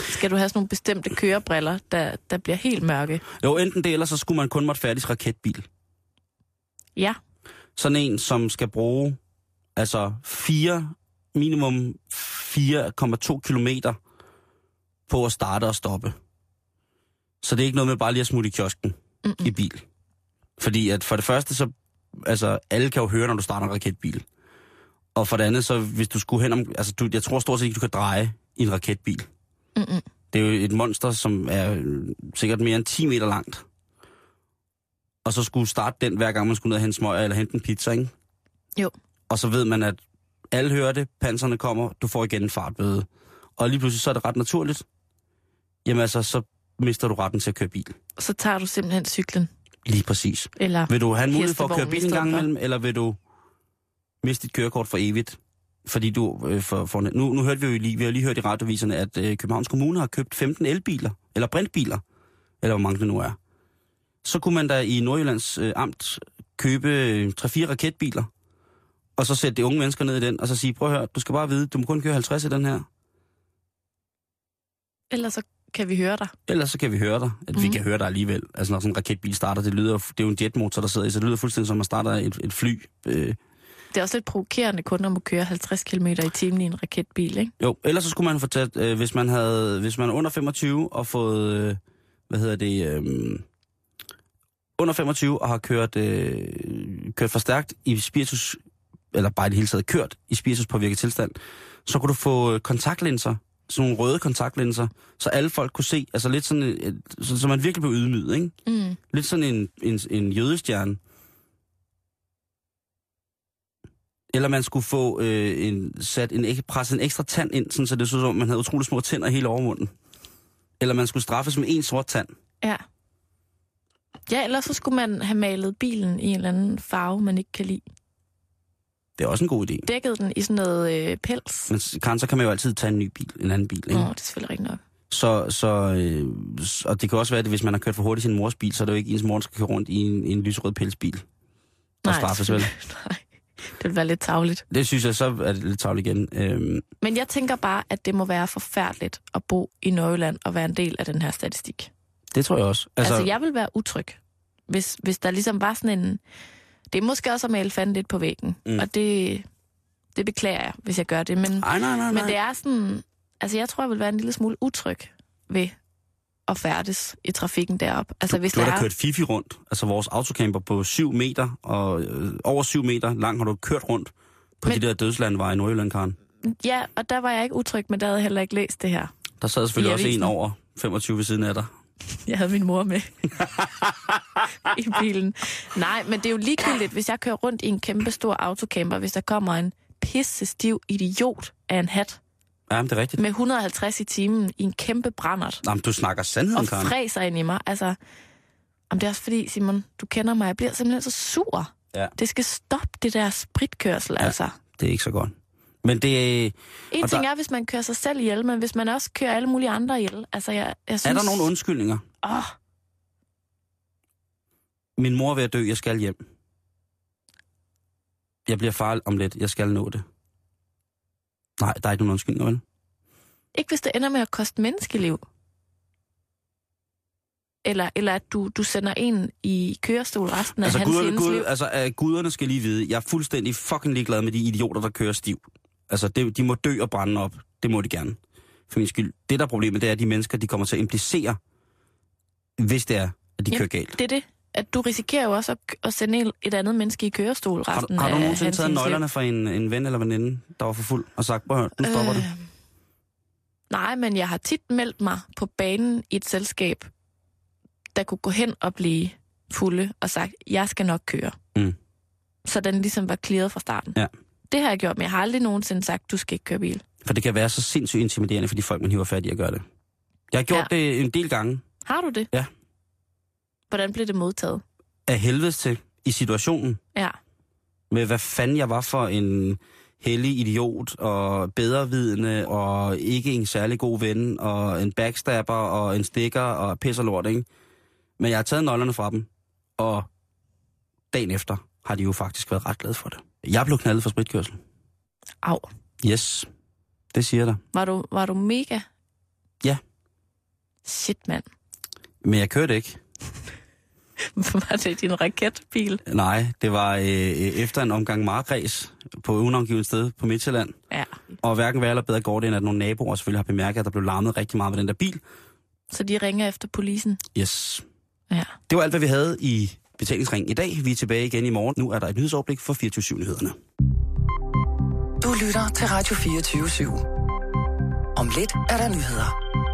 [SPEAKER 5] skal du have sådan nogle bestemte kørebriller, der, der bliver helt mørke.
[SPEAKER 4] Jo, enten det, eller så skulle man kun måtte færdig raketbil.
[SPEAKER 5] Ja,
[SPEAKER 4] Sådan en, som skal bruge altså fire, minimum 4,2 kilometer på at starte og stoppe. Så det er ikke noget med bare lige at smutte i kiosken
[SPEAKER 5] Mm-mm.
[SPEAKER 4] i bil. Fordi at for det første, så, altså, alle kan jo høre, når du starter en raketbil. Og for det andet, så hvis du skulle hen om, altså, du, jeg tror stort set ikke, du kan dreje i en raketbil.
[SPEAKER 5] Mm-mm.
[SPEAKER 4] Det er jo et monster, som er øh, sikkert mere end 10 meter langt. Og så skulle starte den, hver gang man skulle ned og hente smøger eller hente en pizza, ikke?
[SPEAKER 5] Jo.
[SPEAKER 4] Og så ved man, at alle hører det, panserne kommer, du får igen en fartbøde. Og lige pludselig så er det ret naturligt. Jamen altså, så mister du retten til at køre bil.
[SPEAKER 5] Så tager du simpelthen cyklen.
[SPEAKER 4] Lige præcis.
[SPEAKER 5] Eller
[SPEAKER 4] Vil du have en mulighed for at
[SPEAKER 5] Hestevognen
[SPEAKER 4] køre bil en
[SPEAKER 5] i stedet
[SPEAKER 4] gang
[SPEAKER 5] for.
[SPEAKER 4] imellem, eller vil du miste dit kørekort for evigt? Fordi du, øh, for, for, nu, nu hørte vi jo lige, vi har lige hørt i radioviserne, at øh, Københavns Kommune har købt 15 elbiler, eller brintbiler, eller hvor mange det nu er. Så kunne man da i Nordjyllands øh, Amt købe øh, 3-4 raketbiler, og så sætte de unge mennesker ned i den, og så sige, prøv at høre, du skal bare vide, du må kun køre 50 i den her,
[SPEAKER 5] ellers så kan vi høre dig.
[SPEAKER 4] ellers så kan vi høre dig, at mm. vi
[SPEAKER 5] Mhm.
[SPEAKER 4] kan høre dig alligevel. Altså når sådan en raketbil starter, det lyder, jo- det er jo en jetmotor, der sidder i, så det lyder fuldstændig som, at man starter et, et fly. Øh,
[SPEAKER 5] Det er også lidt provokerende kun at må køre 50 km i timen i en raketbil, ikke?
[SPEAKER 4] Jo, ellers så skulle man få taget, øh, hvis man havde, hvis man er under 25 og fået, øh, hvad hedder det, øh, under 25 og har kørt, øh, kørt for stærkt i spiritus, eller bare i det hele taget kørt i spiritus påvirket tilstand, så kunne du få øh, kontaktlinser, sådan nogle røde kontaktlinser, så alle folk kunne se, altså lidt sådan, et, så, så man virkelig blev ydmyget, ikke?
[SPEAKER 5] Mm.
[SPEAKER 4] Lidt sådan en, en, en jødestjerne. Eller man skulle få øh, en, sat en, ek- presset en ekstra tand ind, sådan, så det så ud som, om man havde utrolig små tænder hele overmunden. Eller man skulle straffes med en sort tand.
[SPEAKER 5] Ja. Ja, ellers så skulle man have malet bilen i en eller anden farve, man ikke kan lide.
[SPEAKER 4] Det er også en god idé.
[SPEAKER 5] Dækket den i sådan noget øh, pels.
[SPEAKER 4] Men s- Karen, så kan man jo altid tage en ny bil, en anden bil. Ikke?
[SPEAKER 5] Nå, det er selvfølgelig rigtigt nok.
[SPEAKER 4] Så, så, øh, s- og det kan også være, at hvis man har kørt for hurtigt i sin mors bil, så er det jo ikke ens mor, der skal køre rundt i en, i en lysrød pelsbil. Og
[SPEAKER 5] det
[SPEAKER 4] straffes vel.
[SPEAKER 5] selvfølgelig- Nej, det ville være lidt tavligt.
[SPEAKER 4] Det synes jeg så er det lidt tavligt igen. Øhm,
[SPEAKER 5] Men jeg tænker bare, at det må være forfærdeligt at bo i Nordjylland og være en del af den her statistik.
[SPEAKER 4] det tror jeg også.
[SPEAKER 5] Altså, altså jeg vil være utryg, hvis, hvis der ligesom var sådan en... Det er måske også at male fanden lidt på væggen,
[SPEAKER 4] Mm.
[SPEAKER 5] mm. og det, det beklager jeg, hvis jeg gør det. Men,
[SPEAKER 4] Ej, nej, nej, nej.
[SPEAKER 5] men det er sådan... Altså, jeg tror, jeg vil være en lille smule utryg ved at færdes i trafikken derop. Altså, hvis
[SPEAKER 4] Du har
[SPEAKER 5] der
[SPEAKER 4] da
[SPEAKER 5] er...
[SPEAKER 4] kørt Fifi rundt, altså vores autocamper på 7 meter, og øh, over 7 meter lang har du kørt rundt på men...
[SPEAKER 5] Men-
[SPEAKER 4] de der dødslandveje i Nordjylland, Karen.
[SPEAKER 5] Ja, og der var jeg ikke utryg, men der havde jeg heller ikke læst det her.
[SPEAKER 4] Der sad selvfølgelig
[SPEAKER 5] I
[SPEAKER 4] også en
[SPEAKER 5] avisen.
[SPEAKER 4] over 25 ved siden af dig.
[SPEAKER 5] Jeg havde min mor med i bilen. Nej, men det er jo ligegyldigt, hvis jeg kører rundt i en kæmpe stor autocamper, hvis der kommer en pisse stiv idiot af en hat,
[SPEAKER 4] Ja, men det er rigtigt.
[SPEAKER 5] med 150 i timen i en kæmpe brændert
[SPEAKER 4] Jamen, du snakker sandheden,
[SPEAKER 5] og
[SPEAKER 4] Karen.
[SPEAKER 5] fræser ind i mig. Altså, om det er også fordi, Simon, du kender mig, jeg bliver simpelthen så sur.
[SPEAKER 4] Ja.
[SPEAKER 5] Det skal stoppe det der spritkørsel,
[SPEAKER 4] Ja.
[SPEAKER 5] ja. altså.
[SPEAKER 4] Det er ikke så godt. Men det,
[SPEAKER 5] En
[SPEAKER 4] Og
[SPEAKER 5] ting
[SPEAKER 4] der-
[SPEAKER 5] er, hvis man kører sig selv ihjel, men hvis man også kører alle mulige andre ihjel. Altså, jeg, jeg
[SPEAKER 4] er
[SPEAKER 5] synes...
[SPEAKER 4] der nogle undskyldninger?
[SPEAKER 5] Åh,
[SPEAKER 4] Min mor er ved at dø, jeg skal hjem. Jeg bliver far om lidt, jeg skal nå det. Nej, der er ikke nogen undskyldninger, vel?
[SPEAKER 5] ikke hvis det ender med at koste menneskeliv. Eller, eller at du, du sender en i kørestol resten af
[SPEAKER 4] Altså,
[SPEAKER 5] hans
[SPEAKER 4] guderne,
[SPEAKER 5] hendes
[SPEAKER 4] gud,
[SPEAKER 5] liv.
[SPEAKER 4] altså øh, guderne skal lige vide, jeg er fuldstændig fucking ligeglad med de idioter, der kører stiv. Altså, det, de må dø og brænde op. Det må de gerne. For min skyld. Det, der er problemet, det er, at de mennesker, de kommer til at implicere, hvis det er, at de
[SPEAKER 5] Ja,
[SPEAKER 4] kører galt.
[SPEAKER 5] Det er det. At du risikerer jo også at, at sende en- et andet menneske i kørestol
[SPEAKER 4] Har, du-
[SPEAKER 5] resten
[SPEAKER 4] har du
[SPEAKER 5] af
[SPEAKER 4] nogensinde
[SPEAKER 5] hans
[SPEAKER 4] taget
[SPEAKER 5] hendes liv.
[SPEAKER 4] nøglerne fra en, en ven eller veninde, der var for fuld, og sagt, prøv at høre, nu stopper øh... det.
[SPEAKER 5] Nej, men jeg har tit meldt mig på banen i et selskab, der kunne gå hen og blive fulde og sagt, jeg skal nok køre.
[SPEAKER 4] Mm.
[SPEAKER 5] Så den ligesom var clearet fra starten.
[SPEAKER 4] Ja.
[SPEAKER 5] Det har jeg gjort, men jeg har aldrig nogensinde sagt, du skal ikke køre bil.
[SPEAKER 4] For det kan være så sindssygt intimiderende for de folk, man hiver fat i at gøre det. Jeg har gjort ja. det en del gange
[SPEAKER 5] Har du det?
[SPEAKER 4] Ja.
[SPEAKER 5] Hvordan blev det modtaget?
[SPEAKER 4] af helvedes til i situationen.
[SPEAKER 5] Ja.
[SPEAKER 4] med, hvad fanden jeg var for en hellig idiot, og bedrevidende, og ikke en særlig god ven, og en backstabber, og en stikker, og pisser lort, ikke? Men jeg har taget nøglerne fra dem, og dagen efter har de jo faktisk været ret glade for det. Jeg blev knaldet for spritkørsel.
[SPEAKER 5] Au.
[SPEAKER 4] Yes, det siger der.
[SPEAKER 5] Var du, var du mega?
[SPEAKER 4] Ja.
[SPEAKER 5] Shit, mand.
[SPEAKER 4] Men jeg kørte ikke.
[SPEAKER 5] Var det din raketbil?
[SPEAKER 4] Nej, det var øh, øh, efter en omgang markræs på unangivet sted på Midtjylland.
[SPEAKER 5] Ja.
[SPEAKER 4] Og hverken værre eller bedre går det, end at nogle naboer selvfølgelig har bemærket, at der blev larmet rigtig meget med den der bil.
[SPEAKER 5] Så de ringer efter polisen?
[SPEAKER 4] Yes.
[SPEAKER 5] Ja.
[SPEAKER 4] Det var alt, hvad vi havde i betalingsringen i dag. Vi er tilbage igen i morgen. Nu er der et nyhedsoverblik for 24-7-nyhederne.
[SPEAKER 3] Du lytter til Radio 24 /7. Om lidt er der nyheder.